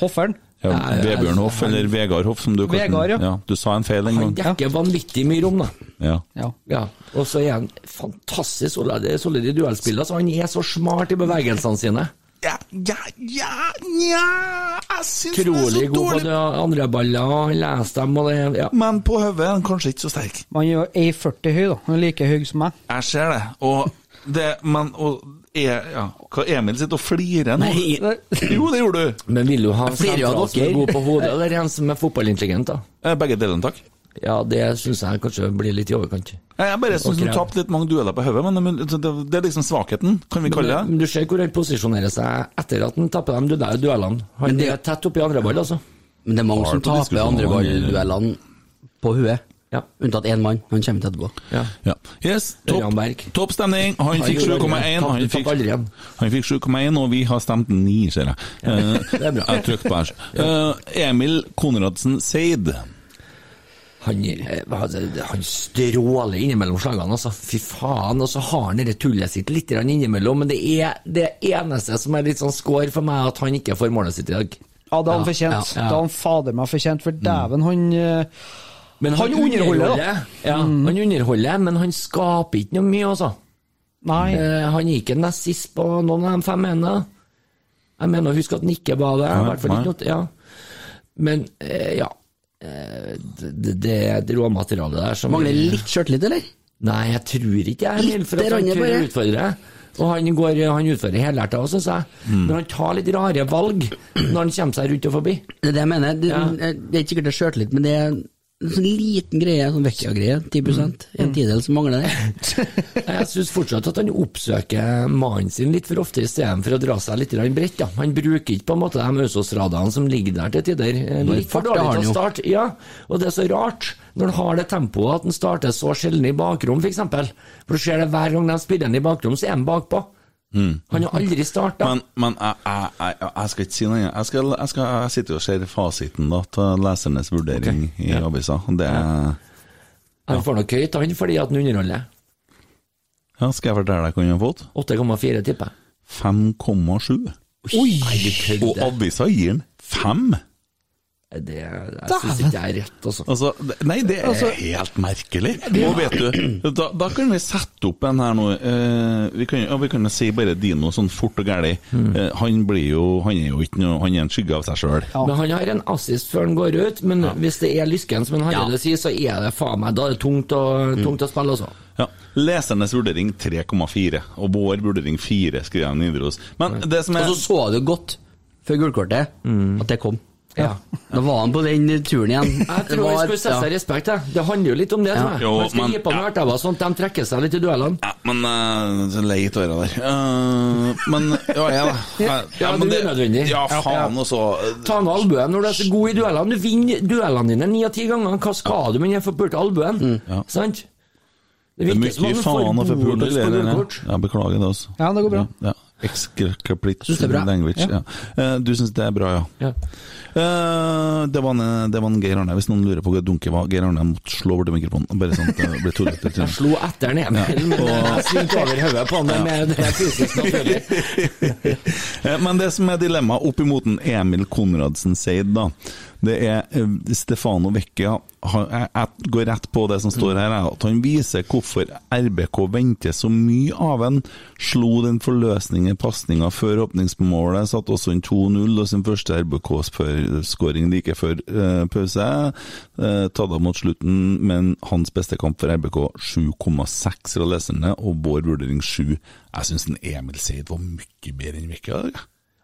D: Hofferen.
C: Ja,
F: Nei, jeg-
C: Vebjørn Hoff, eller Vegard Hoff, som du kaller
D: Vegard, ja.
C: den. Du sa en feil en
F: Han
C: gang.
F: dekker vanvittig mye rom, da.
C: Ja.
D: Ja.
F: Ja, Og så er han fantastisk solid, solid i duellspill. Altså, han er så smart i bevegelsene sine.
C: Ja, ja, ja, nja Jeg syns
F: Utrolig god på det andre baller, og han leser dem og det ja.
C: men på hodet er han kanskje ikke så sterk.
D: Man er jo 1,40 høy, da. Han er like høy som meg.
C: Jeg ser det. Og det Men og, er, ja. Hva Emil sitter og flirer nå?
E: Nei,
C: Jo, det gjorde du.
F: Men vil du ha en
E: flirer av
F: sentral som er
E: dere.
F: god på hodet, eller en som er fotballintelligent, da?
C: Eh, Begge delene, takk.
F: Ja, det syns jeg kanskje blir litt i overkant.
C: Nei, Jeg bare syns
F: Ok.
C: hun tapte litt mange dueller på hodet, men men det, det er liksom svakheten, kan vi kalle det.
F: Men du ser hvor han posisjonerer seg etter at han tapper dem du- der duellene. Han
E: det-
F: er tett oppi andre ball, altså.
E: Men det er mange
C: Har
E: som
C: på
E: taper
C: diskusjonen,
E: andreballduellene på på huet.
F: Ja.
E: Unntatt én mann, han kommer til etterpå.
F: Ja.
C: Ja. Yes, topp,
F: Ørjan Berg.
C: topp stemning. Han fikk
F: gjorde det.
C: 7,1.
F: Tapp-
C: Han
F: tapp
C: fikk,
F: aldri igjen.
C: han fikk 7,1, og vi har stemt 9, ser jeg. Eh,
F: det er bra.
C: Jeg trykte på her. Eh, Emil Konradsen Seid.
F: Han, eh, altså, han stråler innimellom slagene, altså. Fy faen. Og så har han det tullet sitt litt grann innimellom, men det er det eneste som er litt sånn score for meg, at han ikke får målet sitt i dag.
D: Ja, det har han
F: Ja,
D: fortjent.
F: ja, Mm. ja.
D: Det har han fader meg fortjent, for dæven, han eh,
F: Men
D: Han underholder, da.
F: Ja, han underholder, men han skaper ikke noe mye, altså.
D: Nei.
F: Eh, han gikk en nest sist på noen av de fem ene. Jeg mener å huske at Nikke var det. i hvert fall ikke noe, ja. Men eh, ja. Eh, det, det, det råmaterialet der som
E: Mangler litt sjøltillit, eller?
F: Nei, jeg tror ikke jeg, Emil, for
E: Litt
F: at han
E: rann,
F: tør å
E: bare.
F: utfordre. Og han, går, han utfordrer helhjertet også, syns jeg.
E: Hmm.
F: Men han tar litt rare valg når han kommer seg rundt og forbi.
E: Det er det jeg mener. Det,
F: Ja.
E: det er ikke sikkert det er sjøltillit, men det er en sånn liten greie, sånn Vecchia-greie. 10 En tidel som mangler det.
F: Jeg syns fortsatt at han oppsøker mannen sin litt for ofte istedenfor å dra seg litt grann bredt. Ja. Han bruker ikke på en måte de Øsås-radene som ligger der til tider. Eh, Litt for
E: fart, det har
F: dårlig
E: han
F: til
E: jo.
F: å starte. Ja, og det er så rart når han har det tempoet at han starter så sjelden i bakrom, f.eks. For du ser det hver gang de spiller han i bakrom, så er han bakpå.
E: Mm.
F: Han har aldri starta.
C: Men, men jeg, jeg, jeg, jeg skal ikke si noe. Jeg, skal, jeg, skal, jeg sitter jo og ser fasiten da til lesernes vurdering i avisa. Det er
F: Han får nok høyt, han, fordi at han underholder.
C: ja, Skal jeg fortelle deg hva han har fått?
F: 8,4, tipper jeg.
C: 5,7.
F: Nei, du
C: Og
F: kødder.
C: avisa gir han 5!
F: Det, jeg syns ikke det er rett, altså.
C: Altså, det- nei, det er helt merkelig. Og vet du, da, da kan vi sette opp en her nå eh, Vi kan ja, vi kan jo si bare Dino sånn fort og gæli. Eh, han blir jo Han er jo ikke noe Han er en skygge av seg sjøl.
F: Men han har en assist før han går ut, men hvis det er lysken som han Hareide sier, så er det faen meg Da er det tungt å,
C: Mm.
F: tungt å spille, altså.
C: Ja. Lesernes vurdering 3,4, og vår vurdering 4, skriver han videre hos. Men det som
E: Og
C: er
E: så så du godt før gullkortet at det kom.
F: Ja.
E: Da var han på den turen igjen.
F: Mm. Jeg
E: Det
F: tror vi
E: var-
F: skulle sette
E: ja.
F: seg respekt, jeg. Det handler jo litt om det, tror jeg.
C: Jo,
F: Man skal
C: men-
F: gi på med ertebær og sånt, de trekker seg litt i duellene.
C: ja, men eh, så lei av øra der. Eh, men ja, jeg, da. Jeg-
F: Ja,
C: men
F: det er unødvendig.
C: Ja,
F: Ja.
C: faen, altså. og så
F: Ta med albuen når du er så god i duellene. Du vinner duellene dine ni av ti ganger. Hva skal du med den forpulte albuen? Sant?
C: Mm. Det er
F: viktigste
C: mye
F: var at man får
C: faen å få
F: bonus
C: pult
F: på gullkort.
C: Ja, beklager det, altså.
D: Ja, det går bra.
C: Ja. Excreplit
E: Synes det er bra.
C: language. Ja. Eh, Du syns det er bra, ja.
F: Ja.
C: Eh, det, var en, det var en Geir Arne. Hvis noen lurer på hva dunket var Geir Arne måtte slå over til mikrofonen. Bare sånn at det ble tullete. til slutt.
F: Slo etter den Emil, men jeg svingte over hodet på han der med det fysiske naturlig.
C: Eh, Men det som er dilemmaet opp imot den Emil Konradsen Seid, da, det er eh, Stefano Vecchia. Han- Jeg jeg går rett på det som står her, jeg, at han viser hvorfor RBK venter så mye av en. Slo den forløsningen i pasninga før åpningsmålet, satt også en 2-0 og sin første RBK-skåring like før eh, pause. Eh, Tadda mot slutten, men hans beste kamp for RBK 7,6 fra leserne, og vår vurdering 7. Jeg syns Emil Seid var mye bedre enn Vekka.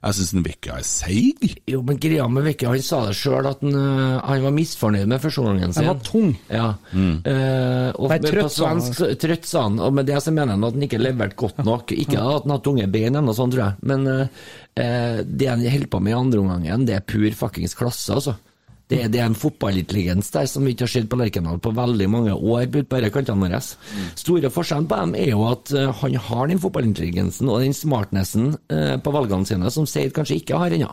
C: Jeg syns Vekka er seig.
F: Jo, men greia med Vekke, han sa det sjøl, at han, øh, han var misfornøyd med førsteomgangen sin.
D: Den var tung.
F: Ja. Eh, og
D: Nei,
F: men
D: trøtt
F: på
D: sa han.
F: svensk så- trøtt sa han, og med det så mener han at han ikke leverte godt nok. Ikke at han har tunge bein ennå, sånn tror jeg, men eh, eh, det han holder på med i andre omgangen, det er pur fuckings klasse, altså. Det, det er en fotballintelligens der som vi ikke har sett på Lerkendal på veldig mange år. på bare kantene våre. Store forskjellen på dem er jo at eh, han har den fotballintelligensen og den smartnessen eh, på valgene sine som Seid kanskje ikke har ennå.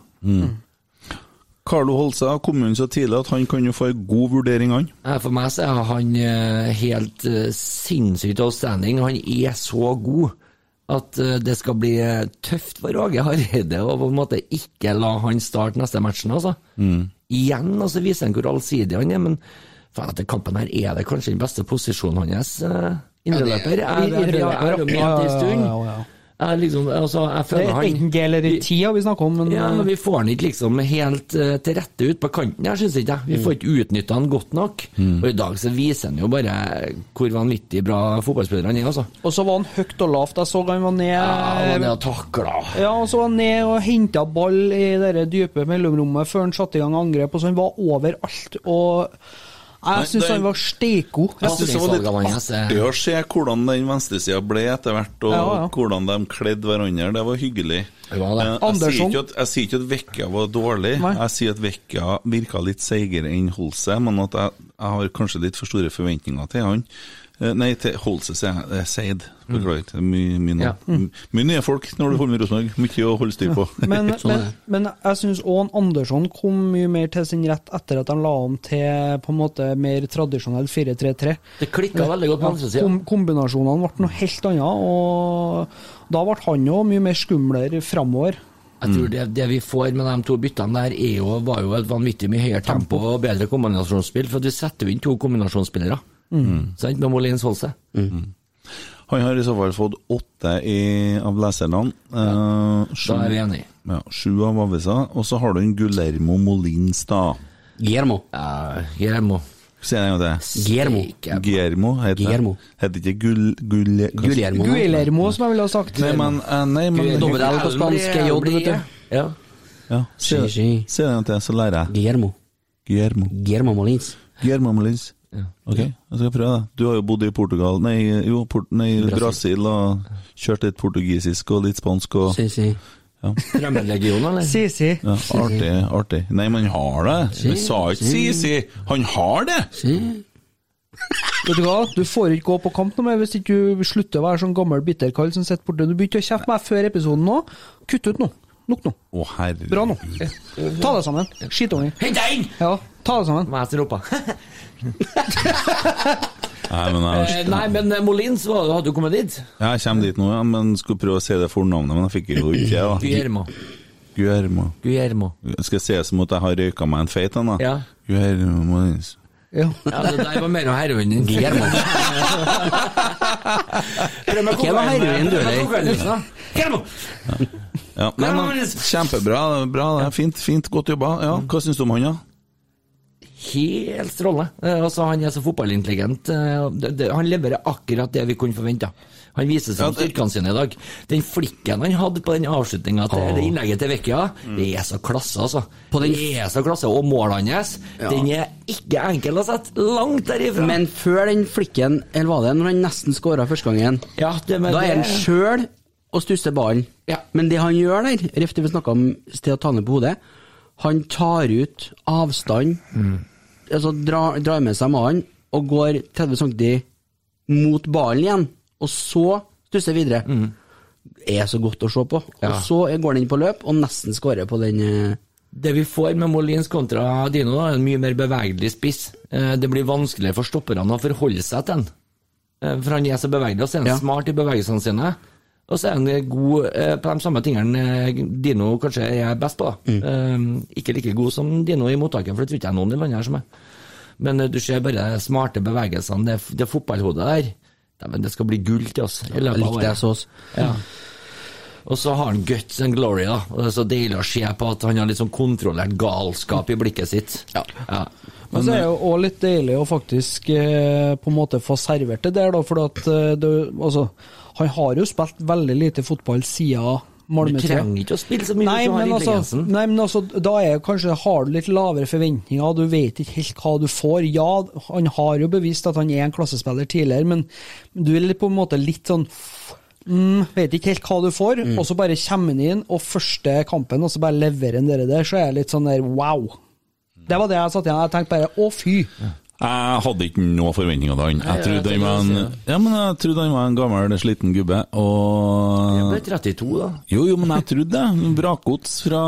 C: Carlo Holse kom inn så tidlig at han kan jo få en god vurdering, han.
F: Nei, For meg så er han eh, helt eh, sinnssykt outstanding. Han er så god at eh, det skal bli eh, tøft for Åge Hareide å på en måte ikke la han starte neste matchen, altså. Igjen altså, viser han hvor allsidig han er, men faen, etter kampen her er det kanskje den beste posisjonen hans. eh, Indreløper.
D: I-
F: Jeg jeg- jeg har
D: indreløper,
F: ment
D: ja.
F: det en stund.
D: Ja, ja, ja, ja.
F: Jeg liksom, altså, jeg
D: Det
F: føler
D: er
F: han
D: enten G eller i ti har vi snakka om, men,
F: ja, men
D: vi,
F: vi får den ikke liksom helt eh, til rette ut på kanten her, syns ikke jeg. Vi får ikke utnytta den godt nok. Og i dag så viser han jo bare hvor vanvittig bra fotballspiller han er, altså.
D: Og så var han høyt og lavt. Jeg så han var ned
F: Ja, han er takla.
D: Ja, og så var han ned og henta ball i det der dype mellomrommet før han satte i gang angrep, og så han var overalt. og
C: Nei,
D: Jeg syns
C: det-
D: han var steikgod.
C: Jeg synes det var litt
F: Pasningsvalgene hans er-
C: artig å se hvordan den venstresida ble etter hvert, og
D: Ja, ja.
C: hvordan de kledde hverandre. Det var hyggelig.
F: Det var det.
C: Eh, Jeg, sier
D: Andersson.
C: ikke at, jeg sier ikke at Vekka var dårlig,
D: Nei.
C: jeg sier at Vekka virka litt seigere enn Holse, men at jeg, jeg har kanskje litt for store forventninger til han. Eh, Nei, til Holse, sier jeg. Eh, Seid. Beklager. det er Mye mye navn.
F: Mm. Ja. Mm.
C: M- mye nye folk når du holder med Rosenborg. Mye å holde styr på.
D: Men,
E: Sånn
D: men,
E: er det.
D: men jeg syns òg Andersson kom mye mer til sin rett etter at han la om til på en måte mer tradisjonell 4-3-3.
F: Det klikka veldig godt på andre sida.
D: Kom, kombinasjonene ble noe helt annet, og da ble han òg mye mer skumlere framover.
F: Jeg tror det, det vi får med de to byttene der, er jo, var jo et vanvittig mye høyere tempo og bedre kombinasjonsspill, for du setter jo inn to kombinasjonsspillere. Sant, med Molins Holse.
C: Han har i så fall fått åtte i, av lesernavn. Eh,
F: Da er
C: sju,
F: vi enige.
C: ja, sju av avisa. Og så har du en Gulermo Molins, da.
E: Gjermo.
F: Ja, Guillermo.
C: Si det en gang til.
E: Gjermo.
F: Steike.
C: Guillermo heter
E: Guillermo.
C: det. Heter ikke Gul... Gul...
E: Guillermo.
D: Guillermo, som jeg ville ha sagt.
C: Nei, men, eh, nei, men
E: Dobbel L på spansk er J, vet du.
F: Ja.
C: ja, Si det si
E: Si, si.
C: det en gang til, så lærer jeg.
E: Gjermo.
C: Guillermo.
E: Gjermo Molins.
C: Guillermo Molins.
F: Ja.
C: Ok, jeg skal prøve det. Du har jo bodd i Portugal Nei, jo, port, nei Brasil. og kjørt litt portugisisk og litt spansk og
E: Si, si.
C: ja.
F: Fremmedlegion, eller?
D: Si, si.
C: ja, Artig, artig. Nei, men han har det! Jeg sa ikke si, si! Han har det!
E: si.
D: Vet du hva, du får ikke gå på kamp noe mer hvis ikke du slutter å være sånn gammel bitterkall som sitter borte. Du begynte å kjefte på meg før episoden nå. Kutt ut nå. Nok nå.
C: Å, herregud.
D: Bra nå. Ta deg sammen. Skitunging.
F: Hent deg inn!
D: Ja, ta deg sammen.
F: Må jeg stille opp, da?
C: Nei, men
F: Eh,
C: jeg,
F: Nei, men eh, Molins var, hadde jo kommet dit.
C: jeg kommer dit nå, ja, men skulle prøve å si det fornavnet, men jeg fikk jo ikke det.
F: Guillermo.
C: da. Guillermo.
F: Guillermo.
C: Skal jeg si det som at jeg har røyka meg en feit en, da?
F: Ja.
C: Guillermo Molins.
D: Ja.
F: Ja, det der var mer av heroin enn Guillermo.
E: Ikke noe
F: eh,
E: heroin, du, eller?
F: Guillermo!
C: Ja, nei,
F: Guillermo
C: men,
F: Molins.
C: kjempebra. Bra, det er fint, fint, godt jobba. Ja, hva syns du om han, da?
F: Helt strålende. Eh, Altså, han er så fotballintelligent. eh, og det- det- Han leverer akkurat det vi kunne forvente. Han viser seg om styrkene sine i dag. Den flikken han hadde på den avslutninga til det innlegget til Vecchia,
E: Mm.
F: det er så klasse, altså.
E: På den-
F: Det er så klasse. Og målet hans, den er ikke enkel å sette. Langt derifra.
E: Men før den flikken, eller var det når han nesten skåra første gangen,
F: ja, det, men
E: da er han
F: det-
E: sjøl og stusser ballen.
F: Ja.
E: Men det han gjør der, ref det vi snakka om sted å ta ned på hodet, han tar ut avstand, altså drar, drar med seg mannen og går 30 cm mot ballen igjen, og så stusser videre. Er så godt å se på.
F: Ja.
E: Og så går han inn på løp og nesten skårer på den eh,
F: Det vi får med Molins kontra Dino, da, er en mye mer bevegelig spiss. Eh, Det blir vanskeligere for stopperne å forholde seg til den. Eh, For han er så bevegelig, og så er han
E: Ja.
F: smart i bevegelsene sine. Og så er han eh, god eh, på de samme tingene eh, Dino kanskje er best på. da.
E: Mm.
F: Eh, Ikke like god som Dino i mottaket, for det tror ikke jeg noen i landet her som er. Men eh, du ser bare de smarte bevegelsene, det, det fotballhodet der. Dæven, det skal bli gull til oss i løpet av
E: likte jeg
F: året.
E: så oss.
F: Ja. Og så har han guts and glory, da. Og det er så deilig å se på at han har litt sånn kontrollert galskap i blikket sitt. Ja.
D: Men så er det jo òg litt deilig å faktisk eh, på en måte få servert det der, da. For at eh, det, altså, han har jo spilt veldig lite fotball siden
F: Du
D: Malmö-tida.
F: trenger ikke å spille så mye
D: Nei,
F: hvis du har
D: men altså,
F: intelligensen.
D: nei, men altså, da er jo kanskje har du litt lavere forventninger, du vet ikke helt hva du får. Ja, han har jo bevist at han er en klassespiller tidligere, men du er litt på en måte litt sånn mm, Vet ikke helt hva du får,
F: Mm.
D: og så bare kommer han inn, og første kampen, og så bare leverer han det der, så er jeg litt sånn der wow. Det var det jeg satt igjen Jeg tenkte bare å, fy.
C: Jeg hadde ikke noen forventninger til han. Jeg trodde han var en, ja, men jeg trodde han var en gammel, sliten gubbe.
F: Du
C: Og
F: er 32, da.
C: Jo, jo, men jeg trodde det. Vrakgods fra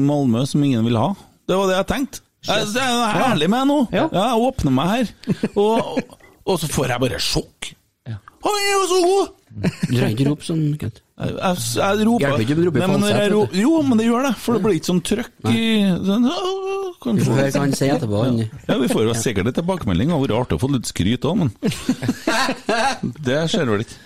C: Malmö som ingen vil ha. Det var det jeg tenkte. Jeg, jeg er ærlig med nå.
D: Ja.
C: Jeg åpner meg her. Og, og så får jeg bare sjokk. Han er jo så god!
E: Du trenger ikke rope sånn, gutt.
C: Jeg, jeg, jeg roper
E: Hjelper ikke om du roper
C: Nei, men når jeg
E: falsett,
C: ro,
E: vet
C: Jo, men det gjør det, for det blir ikke sånn trøkk i sånn, «Åh, kan
E: Du får
C: få-
E: høre hva han sier etterpå. Han.
C: Ja, vi får jo sikkert en tilbakemelding. Det hadde vært artig å få litt skryt òg, men Det skjer vel ikke.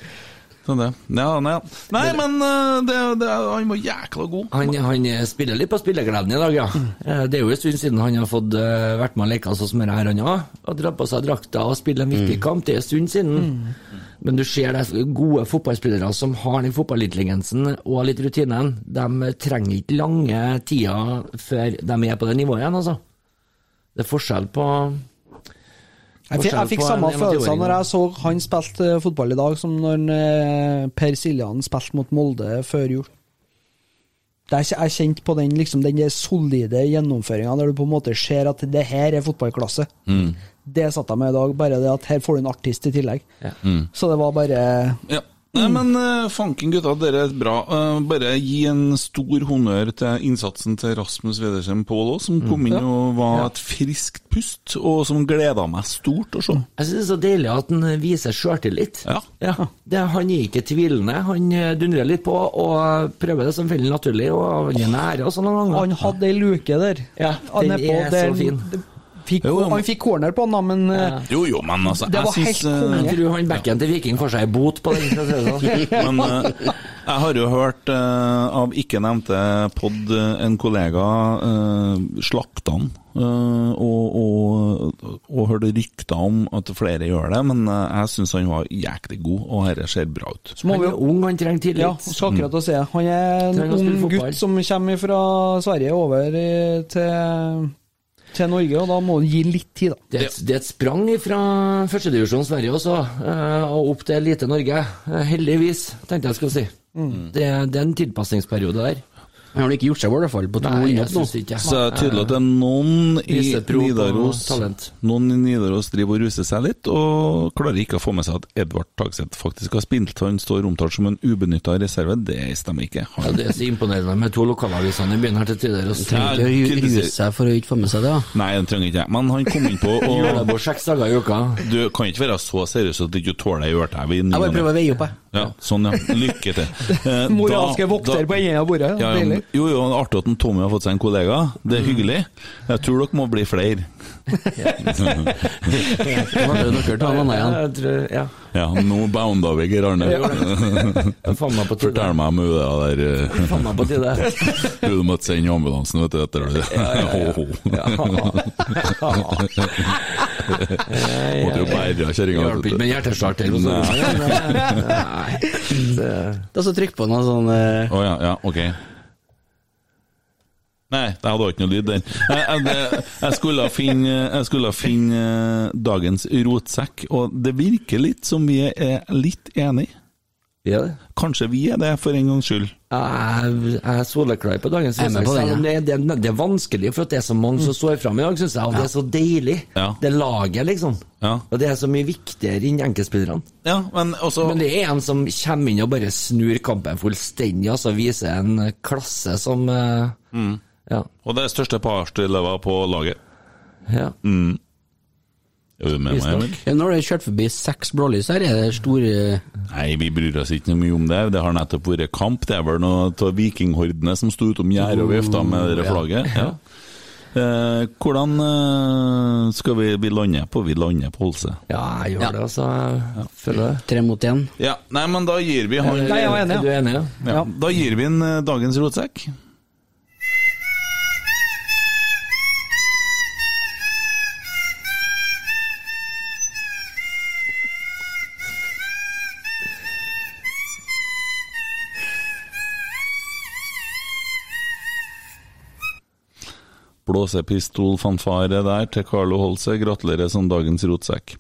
C: Sånn det. Ja, nei, ja. nei, men eh, det, det, han var jækla god.
F: Han, han spiller litt på spillegleden i dag, ja. Eh, Det er jo en stund siden han har fått eh, vært med og leka sånn som det her han har. Og dratt på seg drakta og spille en
D: Mm.
F: viktig kamp. Det er en stund siden. Men du ser de gode fotballspillere som har den fotballintelligensen og litt rutinen. De trenger ikke lange tida før de er på det nivået igjen, altså. Det er forskjell på
D: Jeg fikk, jeg fikk samme
F: Forskjell på en
D: følelser
F: 21-åring
D: når jeg så han spilte eh, fotball i dag, som når eh, Per Siljan spilte mot Molde før jul. Det er, jeg kjente på den, liksom, den der solide gjennomføringa, der du på en måte ser at det her er fotballklasse.
F: Mm.
D: Det satt jeg med i dag, bare det at her får du en artist i tillegg.
F: Mm.
D: Så det var bare
C: Ja. Nei, men eh, fanken gutta, dere er bra. Eh, bare gi en stor honnør til innsatsen til Rasmus Wedersen Pål òg, som kom inn og var et friskt pust, og som gleda meg stort å se.
F: Jeg synes det er så deilig at han viser sjøltillit.
C: Ja.
F: Det- Han er ikke tvilende, han eh, dundrer litt på og eh, prøver det som veldig naturlig, og han er nære og sånne ganger.
D: Han hadde ei luke der.
F: Ja,
D: Han
F: den
D: nedpå,
F: er
D: der-
F: så fin.
D: det- Fikk,
C: Jo, jo, men-
D: han fikk corner på han, da, men eh,
C: Jo, jo, men altså
D: Det var
C: jeg
D: helt
C: syns, eh,
D: konge.
F: Jeg tror han backen til Viking får seg ei bot på den. for å si det sånn.
C: Men eh, jeg har jo hørt eh, av ikke nevnte pod eh, en kollega eh, slakte han, eh, og, og, og hørte rykter om at flere gjør det, men eh, jeg syns han var jæklig god, og dette ser bra ut.
D: så må
F: Han
D: vi
F: er
D: jo
F: ung, han trenger tillit.
D: ja, skal
E: Mm.
D: akkurat å si. Han er en
F: Trenger å spille
D: ung
F: fotball.
D: gutt som kommer fra Sverige over i- til, til Norge, og da må han gi litt tid, da.
F: Det er, et, det er et sprang fra førstedivisjon Sverige også, eh, og opp til lite Norge. Eh, Heldigvis, tenkte jeg skulle si.
D: Mm.
F: Det, det er en tilpasningsperiode der.
E: Han har nå ikke gjort seg i hvert fall på to
F: Nei, jeg
E: innhopp nå.
F: synes ikke.
C: Så det er tydelig at det er noen i
F: Viseprov på
C: Nidaros
F: talent.
C: Noen i Nidaros driver og ruser seg litt, og klarer ikke å få med seg at Edvard Tagseth faktisk har spilt. Han står omtalt som en ubenytta reserve, det stemmer ikke.
F: Ja,
C: Han,
F: det er så imponerende med to lokalavisene i byen her til tider. altså. og så-
C: Ja,
E: Trenger ikke å ru-
C: kritiser-
E: ruse seg for å ikke få med seg det, da.
C: nei, den trenger ikke jeg. Men han kom inn på og
F: Juleborg seks dager i uka.
C: Du kan ikke være så seriøs at du ikke tåler ei ørtæve i ny
E: Jeg
C: og
E: bare
C: ne.
E: prøver å veie opp, jeg.
C: Ja, sånn, ja. Lykke til. Eh,
D: Moralske
C: da-
D: vokter
C: da-
D: på enden av bordet.
C: Ja, ja,
D: Deilig.
C: men- jo, jo, artig at en Tommy har fått seg en kollega. Det er hyggelig. Jeg tror dere må bli flere.
E: Det var jo noen av dem igjen.
F: Jeg tror, ja.
C: Ja, nå bounda vi Geir Arne.
F: Jeg faen meg på
C: Fortell
F: tide.
C: meg om hun der eh,
F: Faen meg på tide.
C: Du, du måtte sende ambulansen, vet du, etter det. Ho, ho. Måtte jo bære kjerringa.
F: Hjelper ikke med en hjertestart her. hos
C: Nei.
F: dere. Nei. Det-
E: Da så trykk på noe sånn eh,
C: Å ja, ja, ok. Nei, jeg hadde ikke noe lyd der. Jeg, jeg, det- jeg, skulle finne, jeg skulle finne eh, dagens rotsekk, og det virker litt som vi er litt enige.
F: Ja, det.
C: Kanskje vi er det, for en gangs skyld.
F: Jeg jeg er soleklar på dagens
E: Jeg er med på den,
F: Selv om det, det, det er vanskelig, for at det er så mange som står fram i dag, syns jeg. Og det er så deilig.
C: Ja.
F: Det laget, liksom.
C: Ja.
F: Og det er så mye viktigere enn enkeltspillerne.
C: Ja, men også
F: Men det er en som kommer inn og bare snur kampen fullstendig, altså viser en eh, klasse som eh, Ja.
C: Og det er største parstillever på laget.
F: ja.
C: Er du med meg, Emil?
E: ja, Når det er kjørt forbi seks blålys her, er det store eh,
C: Nei, vi bryr oss ikke noe mye om det. Det har nettopp vært kamp. Det er vel noe av vikinghordene som sto utom gjerdet og vifta med det der flagget. Ja. Eh, hvordan eh, skal vi, vi lande på? Vi lander på Holse.
F: ja, jeg gjør
E: Ja.
F: det, altså. Jeg føler det.
E: tre mot én.
C: Ja, nei, men da gir vi han
D: Nei, jeg var enig, ja.
F: Er du enig? Ja?
C: ja, Da gir vi han eh, dagens rotsekk. Blåsepistolfanfare der til Carlo Holse. Gratulerer som dagens rotsekk.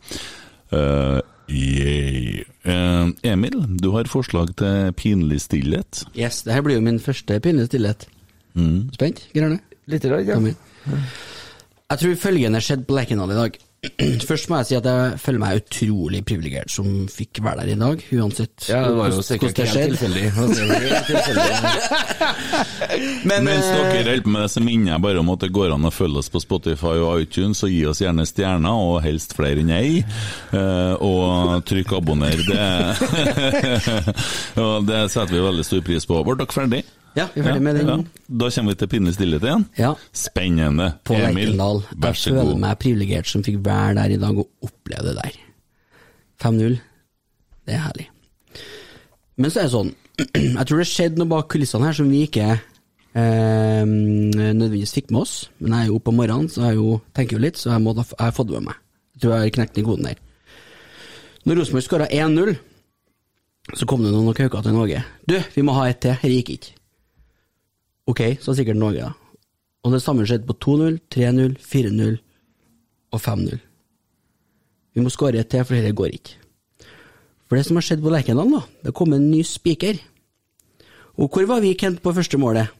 C: Eh, yeah. Eh, Emil, du har forslag til pinlig stillhet.
E: Yes, det her blir jo min første pinlige stillhet.
F: Mm.
E: Spent? Grønne?
F: Litt i dag, ja.
E: Kom igjen. Jeg tror følgende skjedde på Lerkendal i dag. Først må jeg si at jeg føler meg utrolig privilegert som fikk være der i dag, uansett
F: Ja, det var jo
E: hvordan- hvordan
F: sikkert
E: det
F: helt
E: skjedde.
F: tilfeldig. Det var jo tilfeldig.
E: Men,
C: Mens
E: eh,
C: dere holder på med det, så minner jeg bare om at det går an å følge oss på Spotify og iTunes, og gi oss gjerne stjerner, og helst flere enn ei. Eh, Og trykk abonner. Det, og det setter vi veldig stor pris på. Ble dere ferdig?
E: Ja, vi er ferdig med
C: Ja,
E: den.
C: ja. Da kommer vi til pinlig stillhet igjen.
E: Ja.
C: Spennende.
E: På
C: Emil,
E: Lerkendal.
C: vær
E: Jeg
C: så
E: føler
C: god.
E: meg privilegert som fikk være der i dag og oppleve det der. 5-0. Det er herlig. Men så er det sånn, jeg tror det skjedde noe bak kulissene her som vi ikke eh, nødvendigvis fikk med oss. Men jeg er jo oppe om morgenen, så jeg er jo, tenker jo litt, så jeg, må, da- jeg har fått det med meg. Jeg tror jeg har knekt den koden der. Når Rosenborg skåra 1-0, så kom det noen og kauka til Norge. Du, vi må ha ett til, dette gikk ikke. Ok, så sikkert Norge, da. Og det samme skjedde på 2-0, 3-0, 4-0 og 5-0. Vi må skåre ett til, for dette går ikke. For det som har skjedd på Lerkendal, da, det kom en ny spiker. Og hvor var vi, Kent, på første målet?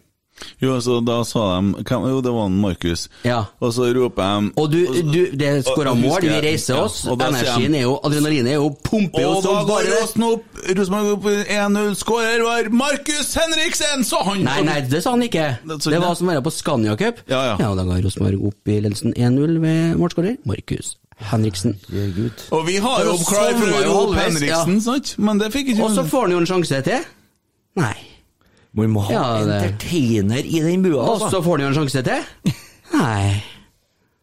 C: Jo, så da sa de hvem, Jo, det var han Markus.
E: Ja.
C: Og så roper de
E: Og du, du det
C: og-
E: skåra
C: og
E: mål,
C: husker
E: vi
C: jeg-
E: reiser
C: ja,
E: oss.
C: og da sier
E: Energien
C: de-
E: er jo Adrenalinet er jo pumper jo
C: Og da
E: som
C: går
E: bare det.
C: Rosen opp! Rosenborg opp 1-0. Skårer var Markus Henriksen! Så han
E: Nei, nei, det sa han ikke.
C: Det sa
E: Det
C: han
E: var
C: ikke.
E: som å være på Scania Cup.
C: Ja, ja.
E: og da ga Rosenborg opp i ledelsen 1-0 ved målskårer Markus Henriksen.
C: Og vi har jo
E: Og så
C: klar for
E: var
C: å
E: jo
C: rope
E: halvveis,
C: Henriksen,
E: ja.
C: sant? Men det fikk ikke
E: Og så får han jo en sjanse til. Nei.
F: Man må ha
E: Ja,
F: en
E: det-
F: entertainer i den bua,
E: Og så
F: altså.
E: får han jo en sjanse til. Nei.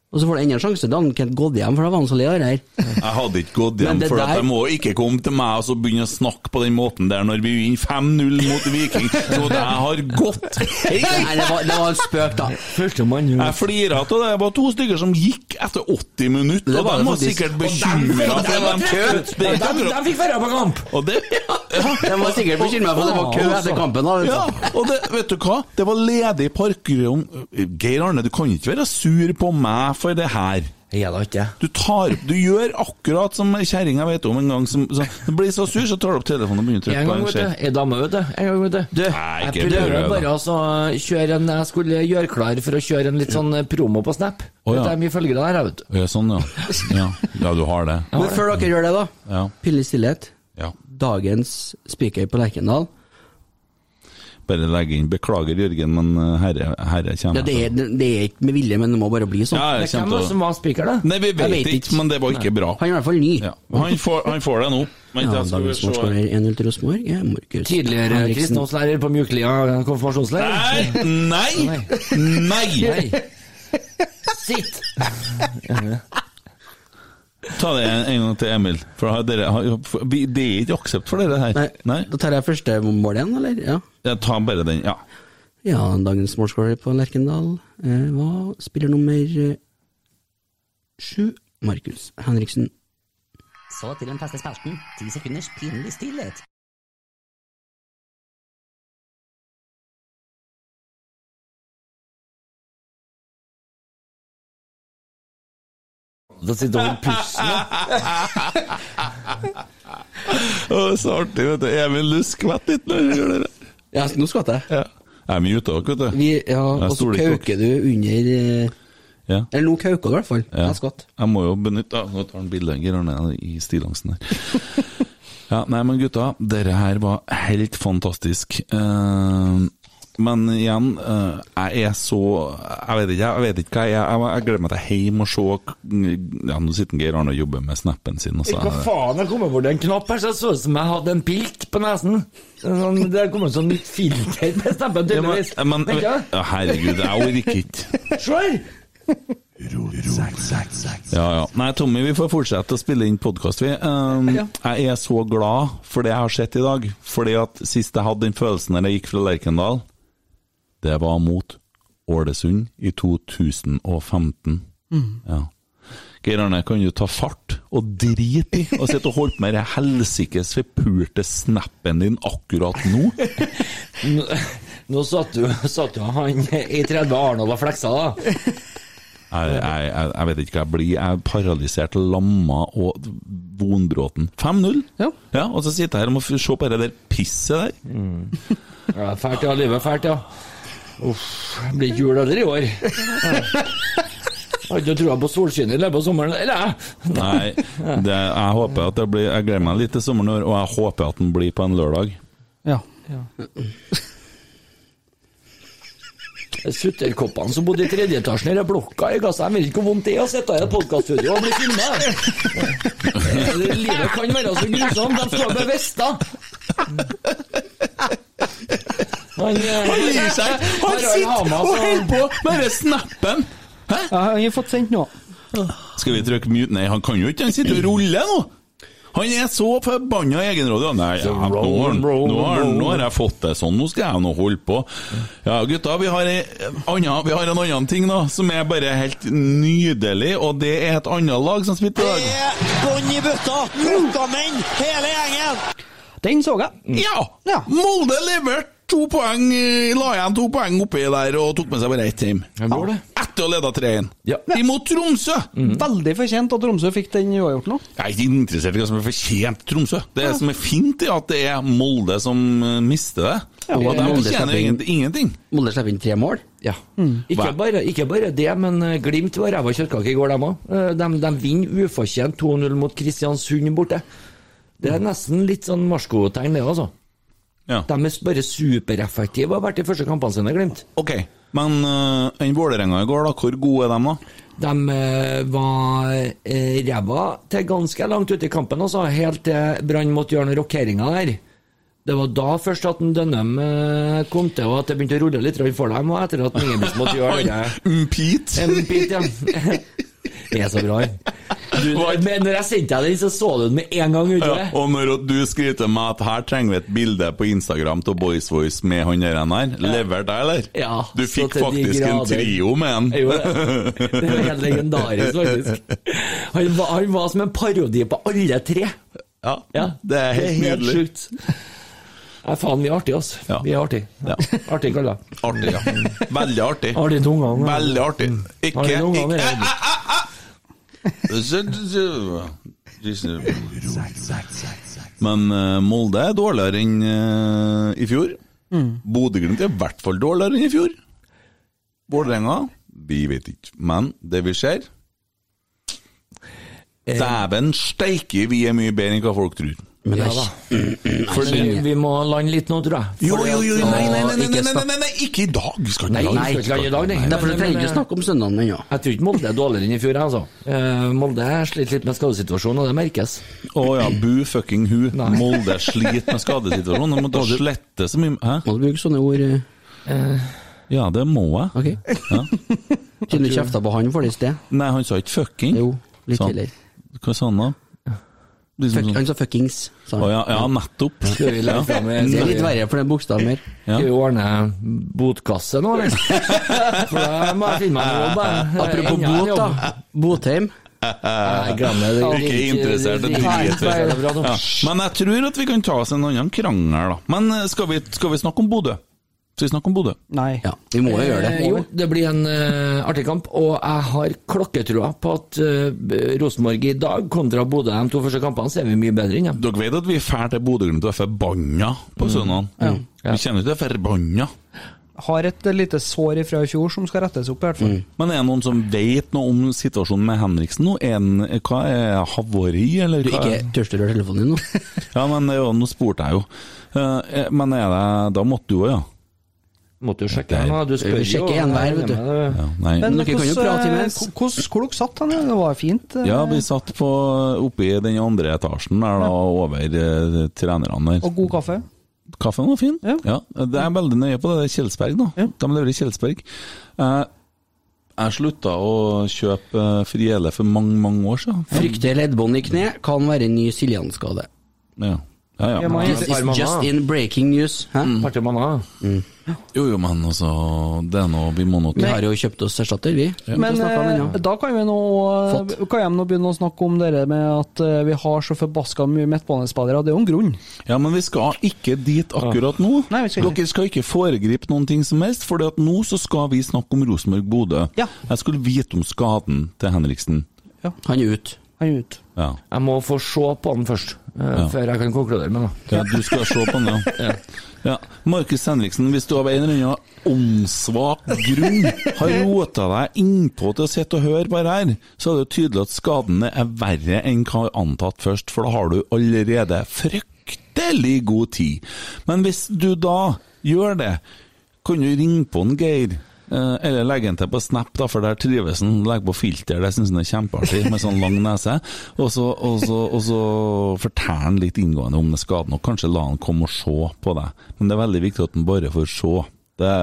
E: Og så får han enda en sjanse da han Kent gått hjem, for da var han så lei av det her.
C: Jeg hadde ikke gått
E: Men
C: hjem,
E: det
C: for at
E: der-
C: de må ikke komme til meg og så begynne å snakke på den måten der når vi vinner 5-0 mot Viking. Så det har gått.
E: Nei, det var, det var en spøk, da.
F: Førstemann ut.
C: Jeg flira av det. Det var to stykker som gikk etter 80 minutter,
E: Det
C: og
E: var
C: de
E: det
C: var
E: faktisk.
C: sikkert bekymra
F: de,
C: for at de
F: de,
C: kødde.
F: fikk være på kamp!
C: Og det
E: Jeg var sikkert bekymra for at det var kø etter kampen. da.
C: Ja, og det, vet du hva? Det var ledig parkrom. Geir Arne, du kan ikke være sur på meg for det her.
F: Jeg er da ikke
C: Du tar opp, du gjør akkurat som kjerringa vet om en gang. Som, som du blir så sur, så tar du opp telefonen og begynner å trykke
F: En
C: på
F: gang,
C: en
F: vet du.
C: skjerm.
F: Ei dame, vet du. En gang, vet du. du
C: Nei,
F: jeg
C: ikke prøv,
F: prøver
C: da.
F: bare altså, å så kjøre en Jeg skulle gjøre klar for å kjøre en litt sånn promo på Snap.
C: Å, ja.
F: Det er mye følgere der, jeg, vet du.
C: Ja, sånn, ja. ja. Ja, du har det.
E: Men før dere gjør det, da.
C: Ja.
E: Pille i stillhet.
C: ja.
E: Dagens speaker på Lerkendal.
C: Bare legge inn. Beklager, Jørgen, men eh, herre, herre
E: Ja,
C: kommer.
E: det, er, det er ikke med vilje, men det må bare bli sånn.
C: Ja,
F: Men
C: jeg
F: Hvem var
C: kommer
F: det
C: til
F: som
C: å
F: var speaker, da?
C: Nei, vi
E: Jeg
C: vet,
E: vet
C: ikke, men det var ikke bra.
E: Han er i hvert fall ny.
C: Ja. Han, får, han får det nå. Vent,
E: Ja,
C: jeg skal
E: dagens
C: se.
E: målskårer 1-0 til Rosenborg er Markus
F: Tidligere
E: Henriksen.
F: kristendomslærer på Mjuklia konfirmasjonsleir.
C: Nei! Nei! Nei!
F: Sitt!
C: Ta det en, en gang til, Emil. For har dere, har, for- vi- det er ikke aksept for dere her.
E: Nei, Da tar jeg første mål igjen, eller? Ja.
C: Jeg tar bare den, ja.
E: ja, dagens målskårer på Lerkendal eh, var spiller nummer eh, sju, Markus Henriksen.
G: Så til den faste spalten. Ti sekunders pinlig stillhet.
F: Da sitter han og puster.
C: Å, så artig, vet du. Emil, du skvetter litt når du gjør det der.
E: Ja, nå skvatt jeg.
C: Ja. Jeg er mye ute òg, vet du.
E: Vi, ja,
C: Jeg
E: og så
C: stoler ikke på-
E: kauker du under eh,
C: Ja.
E: Eller nå kauker du i hvert fall.
C: Ja.
E: Jeg skvatt.
C: Jeg må jo benytte ah, Nå tar han bildet Geir Arne i stillongsen her. Ja, nei, men gutta, dere her var helt fantastisk. Eh, men igjen, eh, jeg er så Jeg vet ikke, jeg vet ikke hva jeg er. Jeg, jeg gleder meg til hjem og se Ja, nå sitter Geir Arne og jobber med snappen sin. altså. Og så,
F: Hva faen, jeg kom over en knapp her, så jeg så ut som jeg hadde en pilt på nesen. Sånn, det kommer sånn nytt filter på
C: ja,
F: stemmen,
C: men,
F: tydeligvis.
C: ja, men,
F: Vent, ja.
C: ja, herregud, jeg orker ikke.
F: Se her!
C: Ja, ja. Nei, Tommy, vi får fortsette å spille inn podkast, vi. Um, Jeg er så glad for det jeg har sett i dag. Fordi at sist jeg hadde den følelsen når jeg gikk fra Lerkendal, det var mot Ålesund i 2015. Ja. Geir Arne, kan du ta fart og drite i å sitte og holde på med den helsikes forpurte snappen din akkurat nå?
F: Nå, nå satt jo satt jo han i 30 Arnold og fleksa, da.
C: Jeg, jeg, jeg, jeg vet ikke hva jeg blir. Jeg er paralysert, lamma og vonbråten. 5-0!
D: Ja.
C: Og så sitter jeg her og må f- se på det der pisset der.
F: Ja, fælt, ja. Livet er fælt, ja. Uff. det Blir ikke jul heller i år. Ja. Jeg Har ikke trua på solskinn i løpet av sommeren, eller? jeg.
C: Nei, det, jeg håper at det blir Jeg gleder meg litt til sommeren, i år, og jeg håper at den blir på en lørdag.
D: Ja.
F: Sutterkoppene som bodde i tredje etasjen i den blokka i Gaza, jeg vet ikke hvor vondt det er å sitte i et podkaststudio og bli filma. Livet kan være så grusomt. De står med vester. Han, han
C: gir seg!
F: Han sitter og holder
C: på med den snappen!
D: Jeg har ikke fått sendt noe.
C: Skal vi trykke mute? Nei, han kan jo ikke, han sitter og ruller nå! Han er så forbanna egenrådig. Nei, ja, nå, har han- nå, har han- nå har jeg fått det sånn, nå skal jeg nå holde på. Ja, gutta, vi har, ei anna, vi har en annen ting da, som er bare helt nydelig, og det er et annet lag som spilte i dag.
B: Bånn i bøtta! Lukka menn, hele gjengen!
D: Den så jeg.
C: Ja!
D: Ja.
C: Molde leverte to poeng, eh, la igjen to poeng oppi der og tok med seg bare ett hjem.
F: Ja, gjorde det.
C: Etter å ha leda 3-1.
F: Ja. Mm.
C: Imot Tromsø!
D: Veldig fortjent at Tromsø fikk den uavgjort nå.
C: Jeg er ikke interessert i hva som er fortjent Tromsø. Det som er fint, er at det er Molde som eh, mister det. og de
E: Molde
C: fortjener
E: slipper inn.
C: ingent- ingenting.
E: Molde slipper inn tre mål.
F: Ja. Mm. Ikke, bare, ikke bare det, men eh, Glimt var ræva kjøttkake i går, dem òg. De, de vinner ufortjent 2-0 mot Kristiansund borte. Det er nesten litt sånn marskotegn, det, altså.
C: Ja.
F: De er bare supereffektive og har vært de første kampene sine, Glimt.
C: Ok, men eh, enn Vålerenga i går, da. Hvor gode er de, da?
F: De eh, var eh, ræva til ganske langt ute i kampen, altså. Helt til Brann måtte gjøre noen rokeringer der. Det var da først at en Dønnum eh, kom til, og at det begynte å rulle litt for dem. Og etter at Ingebrigtsen måtte gjøre det
C: Umpit!
F: En bit, ja. Det er så bra. han. Du, men når jeg sendte deg den, så så du den med en gang. Ute.
C: Ja, og når du skriver til meg at her trenger vi et bilde på Instagram til Boys Voice med han der, han der, levert deg, eller?
F: Ja,
C: du
F: så
C: fikk
F: til de
C: faktisk en
F: grader.
C: trio med en.
F: Jeg gjorde det. Det var helt legendarisk, faktisk. Han var, han var som en parodi på alle tre.
C: Ja,
F: Ja,
C: det er helt, nydelig.
F: sjukt. Nei, faen, vi er artige, altså.
C: Ja.
F: Vi er artige.
C: Ja.
F: Artige kaller.
C: Artig, ja. Veldig artig.
F: Artige tungene. ja.
C: Veldig artig. Ikke,
F: Har de noen
C: ikke
F: ganger-
C: Æ, æ, æ, æ. Men eh, Molde er dårligere enn eh, i fjor. Bodø-Glimt er i hvert fall dårligere enn i fjor. Vålerenga Vi vet ikke. Men det vi ser Eh. Dæven steike, vi er mye bedre enn hva folk tror.
E: Men det
F: Ja da.
E: er
C: Mm,
F: Fordi vi må lande litt nå, tror jeg.
C: Jo,
F: Fordi
C: jo, jo, nei,
F: at-
C: nei, nei,
F: og
C: nei, nei,
F: ikke
C: nei, nei,
F: snakke-
C: nei, nei ikke i dag! Vi skal ikke
F: Nei,
C: lage-
F: nei, vi skal ikke lage den.
E: Derfor
F: Men-
E: trenger vi
F: men-
E: ikke snakke om søndagen ennå.
F: Jeg tror ikke Molde er dårligere enn i fjor, jeg, altså. Eh, Molde sliter litt med skadesituasjonen, og det merkes.
C: Å ja, bu fucking hu. Molde sliter med skadesituasjonen. De må da slette så mye Hæ?
E: Må du bruke sånne ord? eh,
C: Ja, det må jeg.
E: Ok. Siden du kjefta på han for det i sted.
C: Nei, han sa ikke fucking.
E: Jo, litt
C: Sa han-
E: heller.
C: Hva sa han da? Liksom
E: Fuck,
C: sånn-
E: han sa fuckings. Sa
C: Å
E: han.
C: ja, ja, nettopp.
F: Skal vi legge frem en-
E: Det er litt verre, for det er bokstaver.
F: Skal vi ordne botkasse nå, eller? For da må jeg finne meg en jobb. jeg.
E: Apropos
F: Enda en
E: bot,
F: jobb.
E: da. Botheim.
F: Nei, glem det. det
C: Ikke interessert, det
F: det-
C: driter
F: Nei, det er bra nå.
C: Ja. Men jeg tror at vi kan ta oss en annen krangel, da. Men eh, skal vi, skal vi snakke om Bodø? Skal vi snakke om Bodø?
D: Nei.
E: Ja, vi må jo gjøre det.
F: Eh, Jo, det blir en eh, artig kamp, og jeg har klokketroa på at eh, Rosenborg i dag kontra Bodø de to første kampene, så er vi mye bedre enn dem.
C: Dere vet at vi drar til Bodø-Glimt og er forbanna
E: Mm.
C: på søndagen. Vi kjenner ikke det forbanna.
D: Har et eh, lite sår ifra i fjor som skal rettes opp, i hvert fall.
E: Mm.
C: Men er det noen som vet noe om situasjonen med Henriksen nå? Er den, hva er havari, eller
E: Du,
C: hva
E: ikke tørst du å røre telefonen din nå?
C: Ja, men det er jo- nå spurte jeg jo. Eh, Men er det Da måtte du òg, ja?
F: Måtte jo sjekke den, da. Du spør
E: Vi
F: jo. eh,
E: sjekker en hver, vet du.
C: ja? Nei.
E: Men dere kan jo
D: hvordan,
E: prate
D: eh,
E: imens.
D: hvor- hvordan- Hvor dere satt han? ja? Det var fint. eh,
C: Ja, vi satt på, oppe i den andre etasjen der, da, over eh, trenerne der.
D: Og god kaffe.
C: Kaffen var fin.
D: Ja.
C: Ja. Det er veldig nøye på det. Det er Kjelsberg, da. De leverer Kjelsberg. Eh, Jeg slutta å kjøpe eh, Friele for mange, mange år siden.
E: Frykter leddbånd i kne kan være en ny Siljan-skade.
C: Ja. Ja, ja.
D: Jeg må-
E: This is just in breaking news. Hæ?
F: Artig mann, da.
C: Jo, jo, men altså Det er noe vi må nå
E: Vi har jo kjøpt oss erstatter, vi.
D: Men eh, da kan vi nå eh,
E: Fått.
D: kan jeg nå begynne å snakke om det med at eh, vi har så forbaska mye midtbanespillere. Det er jo en grunn.
C: Ja, men vi skal ikke dit akkurat nå.
D: Nei, vi skal ikke.
C: Dere skal ikke foregripe noen ting som helst, for nå så skal vi snakke om Rosenborg-Bodø.
D: Ja.
C: Jeg skulle vite om skaden til Henriksen.
E: Han er ute.
D: Han er ute.
C: Ja.
F: Jeg må få se på den først, eh, før jeg kan konkludere med noe.
C: Ja, du skal se på den, ja. ja. Markus Henriksen, hvis du av en eller annen åndssvak grunn har rota deg innpå til å sitte og høre på det her, så er det jo tydelig at skadene er verre enn hva antatt først, for da har du allerede fryktelig god tid. Men hvis du da gjør det, kan du ringe på en Geir. eh, Eller legge den til på Snap, da, for der trives han. Legge på filter, det syns han er kjempeartig, med sånn lang nese. Og så, og så, og så fortelle han litt inngående om den skaden, og kanskje la han komme og se på deg. Men det er veldig viktig at han bare får se. Det,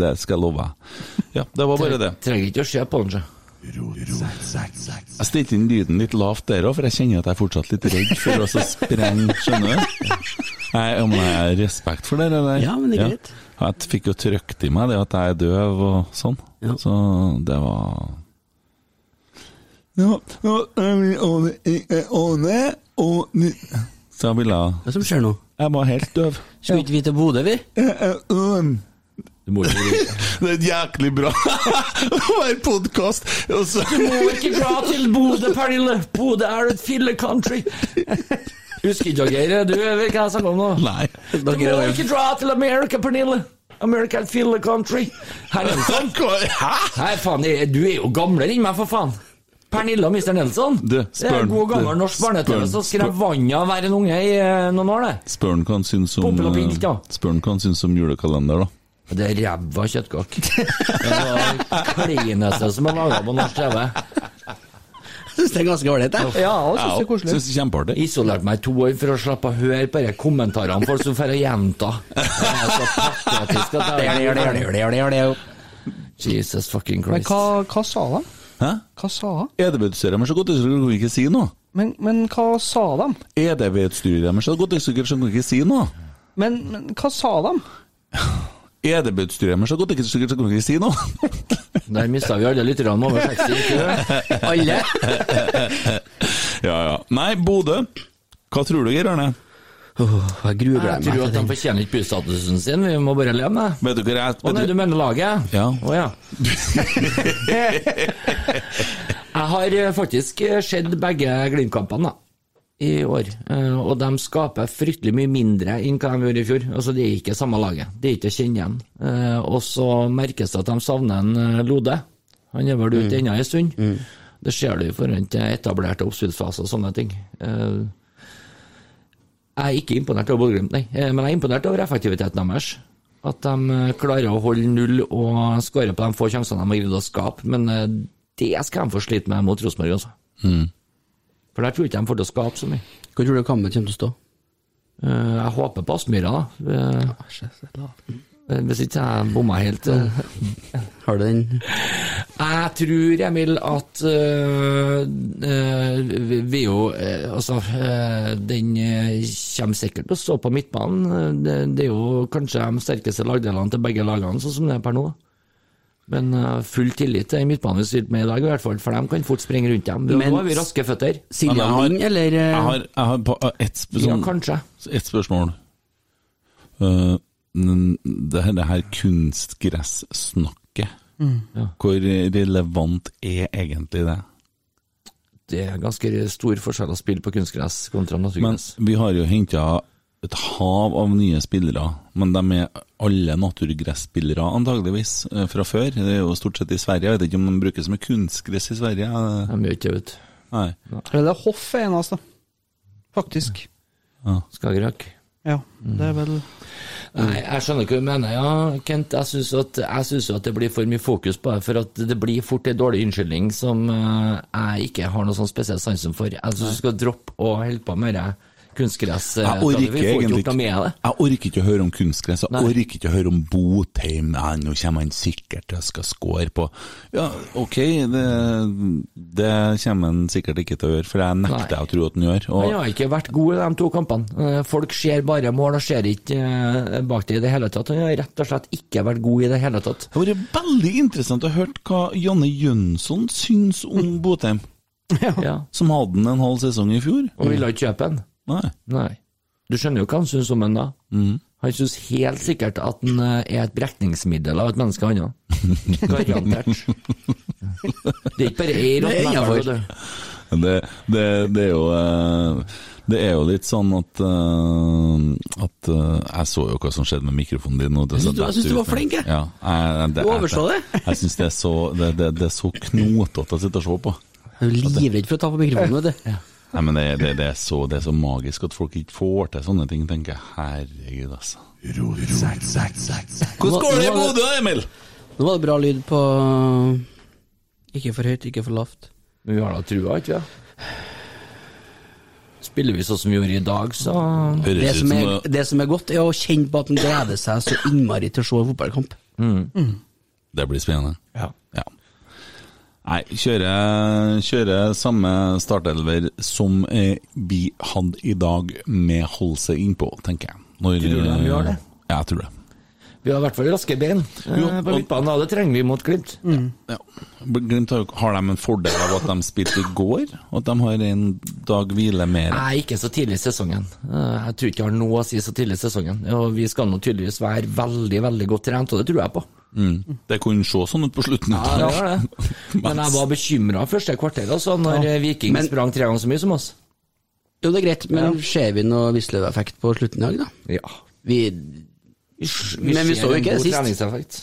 C: det skal jeg love deg. Ja, det var bare det.
F: Trenger ikke å se på den, sjø.
C: Jeg stilte inn lyden litt lavt der òg, for jeg kjenner at jeg er fortsatt litt redd for å så sprenge, skjønner du? Nei, ja, men jeg har respekt for det der.
E: Ja, men det er greit.
C: Ja, Jeg fikk jo trykt i meg det at jeg er døv og sånn,
E: Ja.
C: så det var Nå er vi over i åne og Så jeg ville
E: Hva som skjer nå?
C: Jeg var helt døv.
E: Skulle ikke vi til Bodø, vi?
F: Du må ikke
C: Um. Det er jæklig bra å være podkast! Og så
F: må ikke dra til Bodø, Pernille. Bodø er et fille country. Husker ikke Geir, du vet hva jeg snakker om nå.
C: Nei.
F: Du må ikke dra til America, Pernille. America er et fille country. Herr Nelson,
C: Hæ?!
F: Nei, faen, jeg- du er jo gamlere enn meg, for faen. Pernille og Mr. Nelson.
C: Du, spør
F: det er
C: han.
F: god gammel
C: Du,
F: norsk
C: spør
F: barne-TV
C: han.
F: som skrev
C: Spør-
F: vannet av hver en unge i eh, noen år, det.
C: Spør han hva han syns om
F: Pompel og
C: eh,
F: pilt, ja.
C: Spør han hva han syns om julekalender, da.
F: Det er ræva kjøttkake. Det var det kleineste som er laga på norsk TV.
E: Syns det er ganske ålreit, jeg.
D: Ja, det syns jeg er koselig.
C: Syns det er kjempeartig.
F: Isolerte meg i to år for å slippe å høre på de kommentarene folk som får å gjenta. Det er så patetisk at jeg- Jesus fucking
D: Men
F: Christ.
D: hva, hva sa de?
C: Hæ?
D: Hva sa de?
C: EDB-utstyret E deres er godt, så kan ikke si noe.
D: Men, men hva sa de?
C: EDB-utstyret deres er godt, så kan ikke si noe.
D: Men, men hva sa de?
C: EDB-utstyret deres er godt, så kan ikke si noe.
F: Der mista vi alle lytterne over 60. ikke det?
E: Alle.
C: Ja, ja. Nei, Bodø. Hva tror du, Geir Arne?
E: Åh, Jeg gruer
F: Jeg
E: meg
F: tror at
E: til
F: de
E: den.
F: fortjener ikke bystatusen sin, vi må bare leve med det.
C: Vet dere, jeg,
F: Å nei,
C: vet
F: du
C: dere,
F: mener laget?
C: Ja.
F: Å, ja. jeg har eh, faktisk eh, sett begge Glimt-kampene da, i år, Eh, og de skaper fryktelig mye mindre enn hva de gjorde i fjor. Altså, Det er ikke samme laget, det er ikke å kjenne igjen. Eh, Og så merkes det at de savner en eh, Lode. Han er vel ute ennå en stund. Det ser du i forhold til etablerte oppspillsfaser og sånne ting. Eh, jeg er ikke imponert over Bodø-Glimt, nei. Eh, Men jeg er imponert over effektiviteten deres. At de eh, klarer å holde null og skåre på de få sjansene de har greid å skape. Men eh, det skal de få slite med mot Rosenborg, altså. For der tror jeg ikke de får til å skape så mye.
E: Hvor tror du kampen kommer til å stå?
F: Eh, Jeg håper på Aspmyra, da. Eh, eh, Hvis ikke jeg bomma helt. eh.
E: Har du den?
F: Jeg tror, Emil, at øh, øh, vi- vi jo øh, Altså, øh, den øh, kommer sikkert til å stå på midtbanen. Eh, Det, det er jo kanskje de sterkeste lagdelene til begge lagene, sånn som det er per nå. Men øh, full tillit til den midtbanen vi styrte med i dag, i hvert fall, for de kan fort springe rundt dem.
E: Men-
F: nå har vi raske føtter.
E: Silja
C: Ja, men
E: Hand, eller eh,
C: jeg har, jeg har på- ett sp-
F: Ja,
C: sånn-
F: kanskje.
C: ett spørsmål. Eh, n- det, her, det her kunstgressnakket, hvor relevant er egentlig det?
F: Det er ganske stor forskjell å spille på kunstgress kontra
C: Men
F: naturgress.
C: vi har jo henta et hav av nye spillere, men de er alle naturgresspillere antageligvis eh, fra før. Det er jo stort sett i Sverige, jeg vet ikke om de bruker så mye kunstgress i Sverige. eh,
F: De gjør ikke det, vet du.
C: Nei.
D: Eller Hoff er en av oss, da. Faktisk.
F: Skagerrak.
D: Ja, det er vel
F: Nei, jeg skjønner ikke hva du mener, ja, Kent. Jeg syns at, jeg synes jo at det blir for mye fokus på det, for at det blir fort en dårlig unnskyldning som eh, jeg ikke har noe sånn spesiell sansen for. Jeg syns du skal droppe å holde på med det kunstgress. eh,
C: Jeg orker
F: vi får ikke
C: egentlig
F: gjort noe med det.
C: Jeg orker ikke å høre om kunstgress, jeg orker ikke å høre om Botheim. Nei, nå kommer han sikkert til å skal score på Ja, ok, det, det kommer han sikkert ikke til å gjøre, for jeg nekter
F: Nei.
C: å tro at han gjør. Og
F: Han har ikke vært god i de to kampene. Eh, Folk ser bare mål og ser ikke eh, bak det i det hele tatt. Han har rett og slett ikke vært god i det hele tatt.
C: det hadde vært veldig interessant å høre hva Janne Jønsson syns om Botheim,
F: Ja.
C: som hadde han en halv sesong i fjor.
F: Og ville ikke kjøpe en.
C: Nei.
F: Nei. Du skjønner jo hva han syns om en da. Han syns helt sikkert at han eh, er et brekningsmiddel av et menneske, han òg. Garantert. Det er ikke bare
E: Det
F: ei
E: er
F: rotten
E: innenfor.
F: ære, du.
C: Det, det, det er jo eh, Det er jo litt sånn at eh, At eh, Jeg så jo hva som skjedde med mikrofonen din. Og det,
E: Jeg synes du-
C: så
E: jeg synes du
C: detter ut
E: var
C: med-
E: flink, jeg.
C: Ja, jeg, jeg, det,
E: Du overså det.
C: Jeg, jeg syns det er så Det, det, det er så knotete å sitte og se på.
E: Jeg er jo livredd for å ta på mikrofonen, vet du.
C: Nei, men det, det, det, er så, det er så magisk at folk ikke får til sånne ting, tenker jeg. Herregud, altså. Hvordan går det i Bodø, Emil?
E: Nå var det bra lyd på Ikke for høyt, ikke for lavt.
F: Men vi har da trua, ikke vi? Spiller vi sånn som vi gjorde i dag, så
E: Det
C: Høres ut
E: som,
C: som
E: er,
C: å-
E: det som er godt, er å kjenne på at han gleder seg så innmari til å se en fotballkamp.
C: Det blir spennende.
F: Ja.
C: Ja. Nei, kjøre, kjøre samme startelver som eh, vi hadde i dag, med holde seg innpå, tenker jeg. Når,
F: Tror du de gjør det?
C: Ja, jeg tror det.
F: Vi har i hvert fall raske bein
C: Jo,
F: eh,
C: og-
F: på midtbanen, og det trenger vi mot Glimt.
C: Ja. Glimt har, jo- har de en fordel av at de spilte i går, og at de har en dag hvile mer?
F: Nei, ikke så tidlig i sesongen. Eh, Jeg tror ikke det har noe å si så tidlig i sesongen. Og vi skal nå tydeligvis være veldig, veldig godt trent, og det tror jeg på.
C: Mm. Det kunne se sånn ut på slutten.
F: Ja, det var det. Men jeg var bekymra første kvarter, altså, når eh, Viking
E: Men-
F: sprang tre ganger så mye som oss.
E: Jo, det er greit, men ser vi noe Wisløw-effekt på slutten i dag, da?
F: Ja.
E: Vi Men vi
F: ser
E: så jo
F: en
E: ikke det
F: god
E: sist.
F: treningseffekt.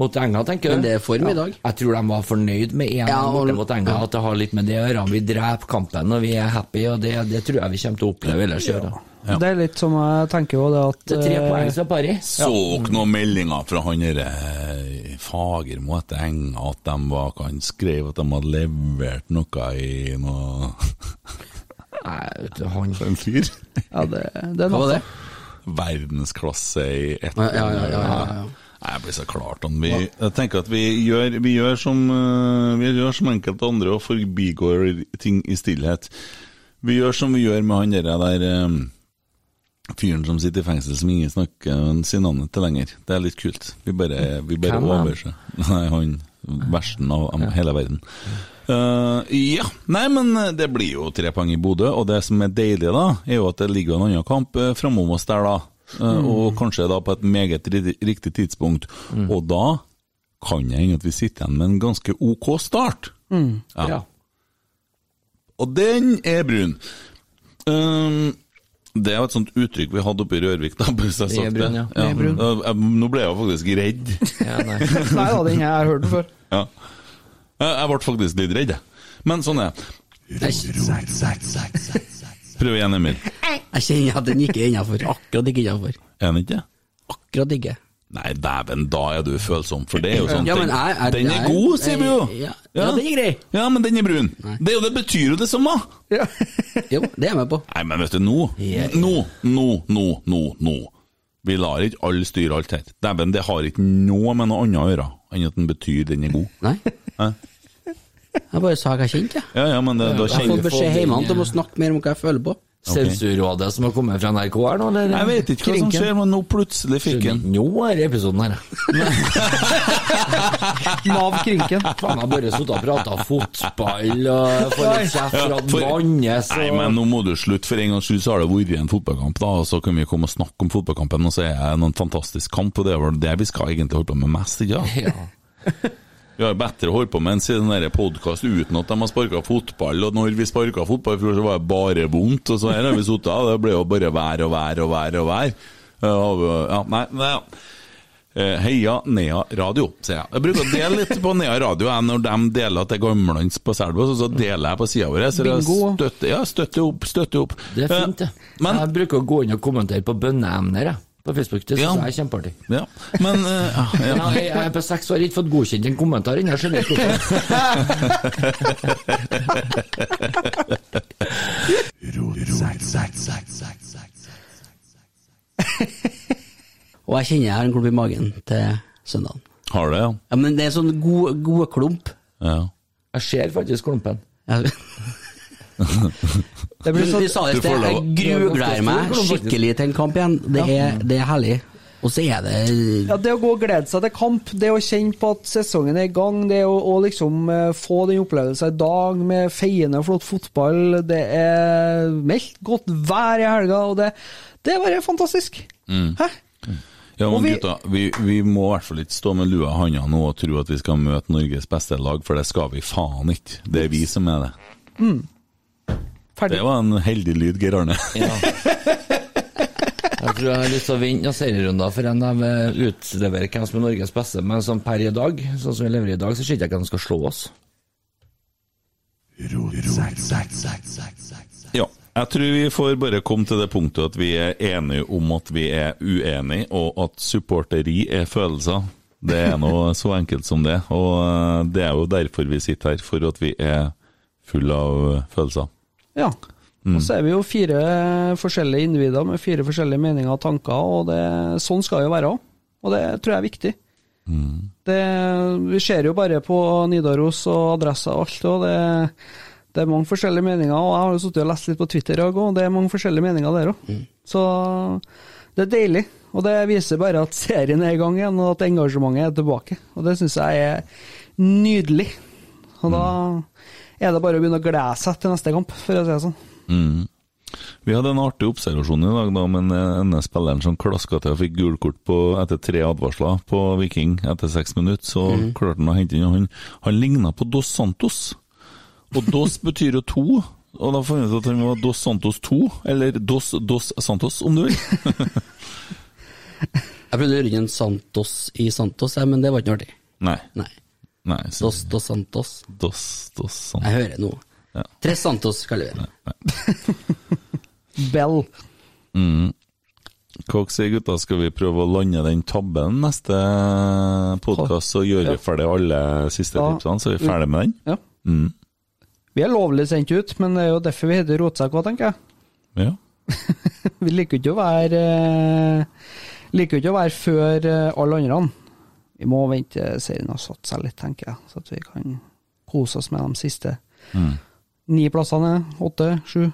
F: Mot Enga, tenker du?
E: Men det er form i
F: Ja.
E: dag.
F: Jeg tror de var fornøyd med én
E: Ja, og-
F: borte mot Enga, at det har litt med det å gjøre. Vi dreper kampen, og vi er happy, og det, det tror jeg vi kommer til å oppleve ellers i år. da.
D: Det er litt som jeg tenker jo, det at
F: Det er tre
D: eh,
F: poeng som pari.
C: Så dere noen meldinger fra han eh, derre Fagermo etter Enga at de var Han skrev at de hadde levert noe i noe
F: Nei, vet du, han
C: En fyr?
D: Ja, det, det er noe.
E: Hva var det?
C: Verdensklasse i ett
E: Ja, ja, ja, ja, ja, ja.
C: Nei, Jeg blir så klart om vi Jeg tenker at vi gjør, vi gjør som eh, Vi gjør som enkelte andre og forbigår ting i stillhet. Vi gjør som vi gjør med han derre der eh, fyren som sitter i fengsel som ingen snakker sin navn til lenger. Det er litt kult. Vi bare, vi bare
F: Hvem er han?
C: overser. Nei, han versten av av hele verden. Eh, ja. Nei, men eh, det blir jo tre poeng i Bodø, og det som er deilig da, er jo at det ligger en annen kamp eh, framom oss der da. Eh,
F: Mm.
C: Og kanskje da på et meget ri- riktig tidspunkt.
F: Mm.
C: Og da kan jeg hende at vi sitter igjen med en ganske ok start. Ja.
F: Mm. Ja.
C: Og den er brun. Ehm, det er jo et sånt uttrykk vi hadde oppe i Rørvik. da, hvis jeg
F: Det er
C: sagt
F: brun, ja.
C: Ja. Eh, jeg- Nå ble jeg jo faktisk redd.
F: ja, nei.
D: Nei da, den har jeg hørt den før.
C: Ja. Jeg, jeg ble faktisk litt redd, jeg. Men sånn er det. Prøv igjen, Emil.
E: Jeg kjenner at den ikke er innafor. Akkurat ikke innafor.
C: Er den ikke?
E: Akkurat ikke.
C: Nei, dæven, da er du følsom, for det er jo sånn
E: Ja,
C: ting.
E: men jeg- jeg-
C: Den er
E: jeg-
C: god, sier vi jo!
E: Ja, ja, den er grei.
C: Ja, men den er brun. Det, er jo, det betyr jo det samme!
D: Ja.
E: Jo, det er jeg med på.
C: Nei, men vet du, nå
E: Ja, ja.
C: Nå, nå, nå, nå, nå. Vi lar ikke alle styre alt her. Dæven, det har ikke noe med noe annet å gjøre enn at den betyr den er god.
E: Nei.
C: Hæ?
E: Jeg bare sa hva jeg kjente, jeg.
C: Ja, ja, men det, da
E: Jeg har
C: kjenner
E: fått
C: vi
E: beskjed
F: den,
E: hjemme
F: ja.
E: om å snakke mer om hva jeg føler på.
F: Sensurrådet som har kommet fra NRK her nå, eller?
C: Jeg vet ikke hva som skjer, men nå plutselig fikk den.
F: Nå er det episoden her, jeg.
D: Nav Krinken.
F: Faen, jeg har bare sittet og prata fotball og får litt kjeft for at
C: for-
F: Vannes
C: Nei,
F: og
C: men nå må du slutte. For en gangs skyld så har det vært en fotballkamp, da, og så kan vi komme og snakke om fotballkampen, og så er det en fantastisk kamp, og det er vel det vi skal egentlig holde på med mest, ikke sant?
F: ja.
C: Vi har bedre å holde på med enn siden den podkast uten at de har sparka fotball, og når vi sparka fotball i fjor, så var det bare vondt, og så her har vi sittet og det ble jo bare vær og vær og vær og vær. Eh, Ja, nei, nei, ja. Eh, Heia Nea Radio, sier jeg. Jeg bruker å dele litt på Nea Radio jeg, når de deler at det er gammeldansk på Selbu, så deler jeg på sida vår. Så jeg
D: Bingo.
C: støtter, ja, støtter opp, støtter opp.
F: Det er fint, det.
C: Eh, Men,
F: jeg bruker å gå inn og kommentere på bønneemner jeg, på Facebook. Det syns
C: Ja.
F: jeg er kjempeartig.
C: ja, men eh, ja,
F: Men jeg, jeg er på seks år ikke fått godkjent en kommentar ennå, jeg skjønner ikke hvorfor.
E: Og jeg kjenner jeg har en klump i magen til søndagen.
C: Har det, ja.
E: Ja, men det er sånn god, god klump.
C: ja.
F: Jeg ser faktisk klumpen.
E: Jeg-
D: Det blir
E: Men
D: sånn
E: Vi sa det i
C: Du får
E: sted, jeg
C: lov.
E: grugler meg skikkelig til en kamp igjen. Det er, det er herlig. Og så er det
D: Ja, Det å gå og glede seg til kamp, det å kjenne på at sesongen er i gang, det å, å liksom eh, få den opplevelsen i dag med feiende og flott fotball, det er meldt godt vær i helga, og det, det er bare fantastisk. Hæ?
C: Ja,
D: Og
C: men
D: vi-
C: gutta, vi, vi må i hvert fall ikke stå med lua i handa nå og tro at vi skal møte Norges beste lag, for det skal vi faen ikke. Det er vi som er det.
D: Mm. Ferdig.
C: Det var en heldig lyd, Geir Arne.
F: Jeg tror jeg har lyst til å vinne noen serierunder for en av eh, utleverer hvem som er Norges beste, men sånn per i dag, sånn som vi lever i dag, så ser jeg ikke hvem som skal slå oss.
C: Ja. Jeg tror vi får bare komme til det punktet at vi er enige om at vi er uenige, og at supporteri er følelser. Det er nå så enkelt som det. Og eh, det er jo derfor vi sitter her, for at vi er fulle av eh, følelser.
D: Ja. Og så er vi jo fire forskjellige individer med fire forskjellige meninger og tanker, og det, sånn skal det jo være òg. Og det tror jeg er viktig. Det, vi ser jo bare på Nidaros og adresser og alt, og det, det er mange forskjellige meninger. Og jeg har jo sittet og lest litt på Twitter i dag, og det er mange forskjellige meninger der òg. Så det er deilig Og det viser bare at serien er i gang igjen, og at engasjementet er tilbake. Og det syns jeg er nydelig. Og da er det bare å begynne å glede seg til neste kamp, for å si det sånn.
C: Mm. Vi hadde en artig observasjon i dag da, med denne spilleren som klaska til og fikk gult kort på, etter tre advarsler på Viking etter seks minutter. Så klarte han å hente inn og Han, han ligna på Dos Santos. Og Dos betyr jo to. Og da fant vi ut at han var Dos Santos 2, eller Dos Dos Santos, om du vil.
E: Jeg prøvde å gjøre en Santos i Santos, jeg, men det var ikke noe artig.
C: Nei.
E: Nei.
C: Nei så,
E: Dos dos Santos.
C: dos, dos
E: Jeg
C: Santos.
E: hører noe.
C: Ja.
E: Tres Santos, kaller vi det.
D: Bell.
C: Hva dere sier gutta, skal vi prøve å lande den tabben neste podkast, så gjør vi ferdig alle siste
D: Ja.
C: tipsene, så er vi ferdig med den?
D: Ja. Vi er lovlig sendt ut, men det er jo derfor vi heter Rotsekk òg, tenker jeg.
C: Ja.
D: Vi liker jo ikke å være eh, Liker jo ikke å være før eh, alle andre. Vi må vente serien har satt seg litt, tenker jeg, så at vi kan kose oss med de siste ni plassene. Åtte, sju.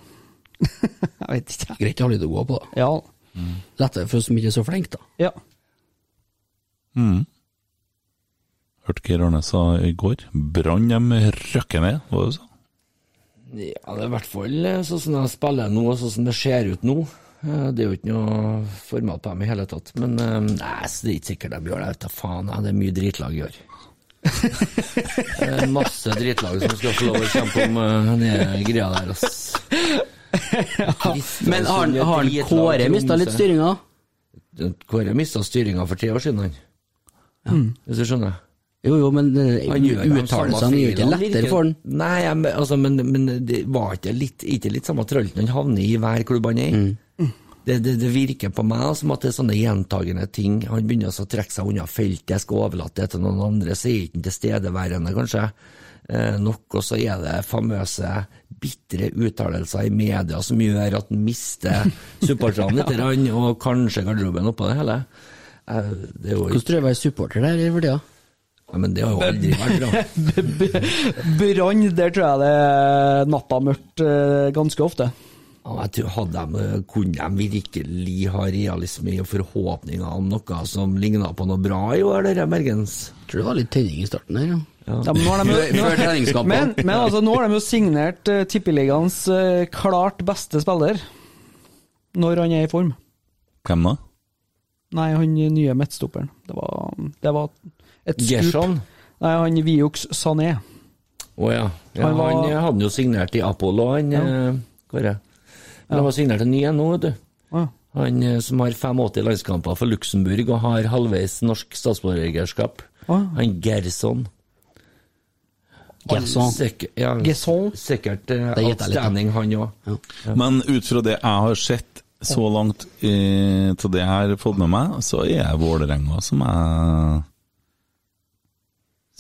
D: jeg vet ikke.
E: Greit å ha litt å gå på, da.
D: Ja.
E: Lettere for oss som ikke er så flinke, da.
D: ja.
C: Mm. Hørte hva Arne sa i går. Brann dem røkker ned, var det du sa?
F: Ja, det er i hvert fall eh, sånn som de spiller nå, og sånn som det ser ut nå. Eh, Det er jo ikke noe format på dem i hele tatt. Men eh, nei, så det er ikke sikkert de gjør det. Jeg vet da faen, jeg. det er mye dritlag i år. Det er masse dritlag som skal få lov å kjempe om eh, den greia der, ass. Kristiansund
E: Men har, han-
F: er
E: har han
F: dritlag,
E: Kåre mista litt
F: Tromsø.
E: styringa?
F: Kåre mista styringa for tre år siden, han.
E: Mm.
F: Hvis du skjønner?
E: Jo, jo, men eh, uttalelsene er jo ikke lettere for han.
F: Nei, jeg, men- altså, men, men det var ikke litt, ikke litt samme trølten han havner i hver klubb han er i.
E: Mm.
F: Det, det, det virker på meg som at det er sånne gjentagende ting. Han begynner altså å trekke seg unna feltet, skal overlate det til noen andre, så er ikke han tilstedeværende, kanskje. Eh, nok, og så er det famøse bitre uttalelser i media som gjør at han mister supporterne litt, grann, og kanskje garderoben oppå det hele. Eh, det er jo
E: Hvordan
F: ikke,
E: tror du jeg er supporter der i for tida?
F: Nei, men det har jo aldri vært bra.
D: Brann, der tror jeg det er natta mørkt eh, ganske ofte.
F: Ja, Jeg tror hadde de, Kunne de virkelig ha realisme og forhåpninger om noe som lignet på noe bra i år, dere Bergens?
E: Tror det var litt tenning i starten her, ja.
D: Ja, men, nå har de,
E: Før-
D: jo-
E: før treningskampen.
D: men, men altså, nå har de jo signert uh, Tippeligaens eh, klart beste spiller, når han er i form.
C: Hvem da?
D: Nei, han nye midtstopperen. Det var, det var et skup. Nei, han Viox Sané.
F: Å ja. ja
D: Han
F: han,
D: var-
F: eh, hadde jo signert i Apollo, han eh, Kåre. Men han var signert en ny en nå, vet du.
D: Å, ja.
F: Han eh, som har 85 landskamper for Luxembourg og har halvveis norsk statsborgerskap.
D: Å.
F: Han Gerson.
E: Gerson.
F: Sikkert, ja,
D: Gerson?
F: sikkert eh,
E: Det gjetter jeg litt, da.
F: outstanding, han òg.
C: Men ut fra det jeg har sett så langt eh, til det jeg har fått med meg, så er jeg Vålerenga som jeg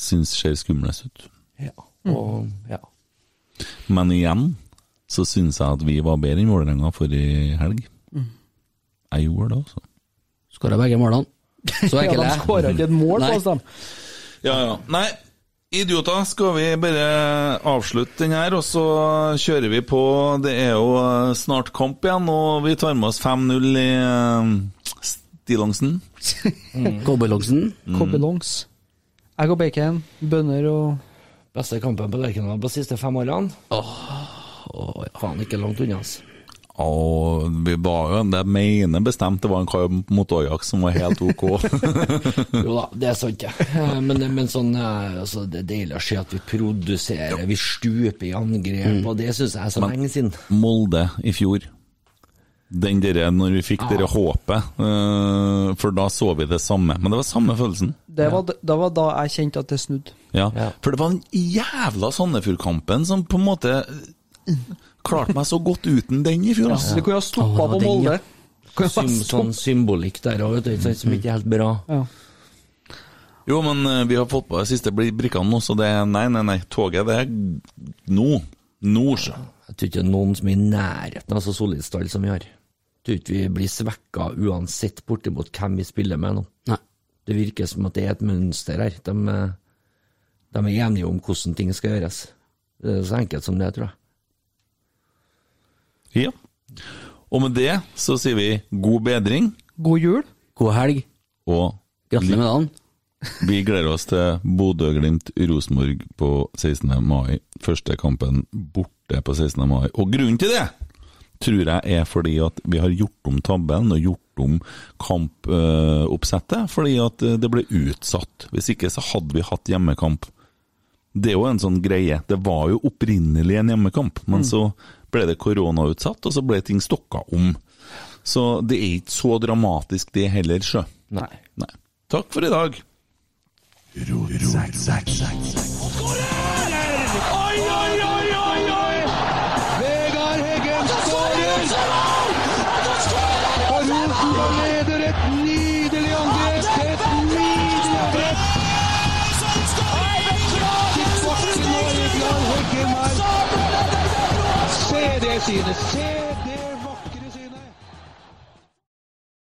C: syns ser skumlest ut.
F: Ja. Og, ja.
C: Men igjen så syns jeg at vi var bedre enn Vålerenga forrige helg.
F: Mm.
C: Jeg gjorde det, altså.
E: Skåra begge målene. Så
D: Ja,
E: ekkel
D: de
E: jeg.
D: skåra ikke et mål på
E: Nei.
D: oss, de.
C: Ja, ja. Nei, idioter, skal vi bare avslutte den her, og så kjører vi på. Det er jo eh, snart kamp igjen, og vi tar med oss 5-0 i eh, stillongsen.
E: Cowboylongsen.
D: Copylongs. Egg og bacon, bønner og
F: Beste kampen på Lerkendal på de siste fem årene? Åh, Faen, ikke langt unna, altså.
C: Og vi var jo, jeg mener bestemt det var en kamp mot Ajax som var helt ok.
F: Jo da, det er sant, det. Eh, Men, men sånn, eh, altså, det er deilig å se at vi produserer, vi stuper i angrep, og det syns jeg er så lenge siden.
C: Molde i fjor. Den dere, når vi fikk dere håpet, eh, for da så vi det samme. Men det var samme følelsen.
D: det var, d- det var da jeg kjente at det snudde.
C: Ja.
F: Ja.
C: For det var den jævla Sandefjord-kampen som på en måte eh, klarte meg så godt uten den i fjor. altså. ass.
D: Du kunne ha stoppa
E: Å, det var
D: på
E: den,
D: Molde.
E: ja.
D: Kunne ha
F: Sym, sånn
D: stoppet-
F: symbolikk der òg, vet du, ikke sant, som ikke er helt bra.
D: Ja.
C: Jo, men eh, vi har fått på de siste bri- brikkene nå, så det er Nei, nei, nei. Toget, det er nå. Nå, sjø.
F: Jeg tror ikke det er noen som er i nærheten av så solid stall som vi har. Jeg tror ikke vi blir svekka uansett bortimot hvem vi spiller med nå.
E: Nei.
F: Det virker som at det er et mønster her. De, eh, de er enige om hvordan ting skal gjøres. Det er så enkelt som det, tror jeg.
C: Ja. Og med det så sier vi god bedring.
D: God jul.
E: God helg.
C: Og
E: Gratulerer med dagen.
C: vi gleder oss til Bodø-Glimt-Rosenborg på 16. mai. Første kampen borte på 16. mai. Og grunnen til det tror jeg er fordi at vi har gjort om tabellen og gjort om kampoppsettet. fordi at eh, det ble utsatt. Hvis ikke så hadde vi hatt hjemmekamp. Det er jo en sånn greie. Det var jo opprinnelig en hjemmekamp, men så ble det koronautsatt, og så ble ting stokka om. Så det er ikke så dramatisk det heller, sjø.
F: Nei.
C: Nei. Takk for i dag.
B: Vegard Heggen skårer! Og Rosenborg leder et nydelig angrep! Et nydelig angrep! Tilbake nå, Vegard Heggen her. Se det synet! Se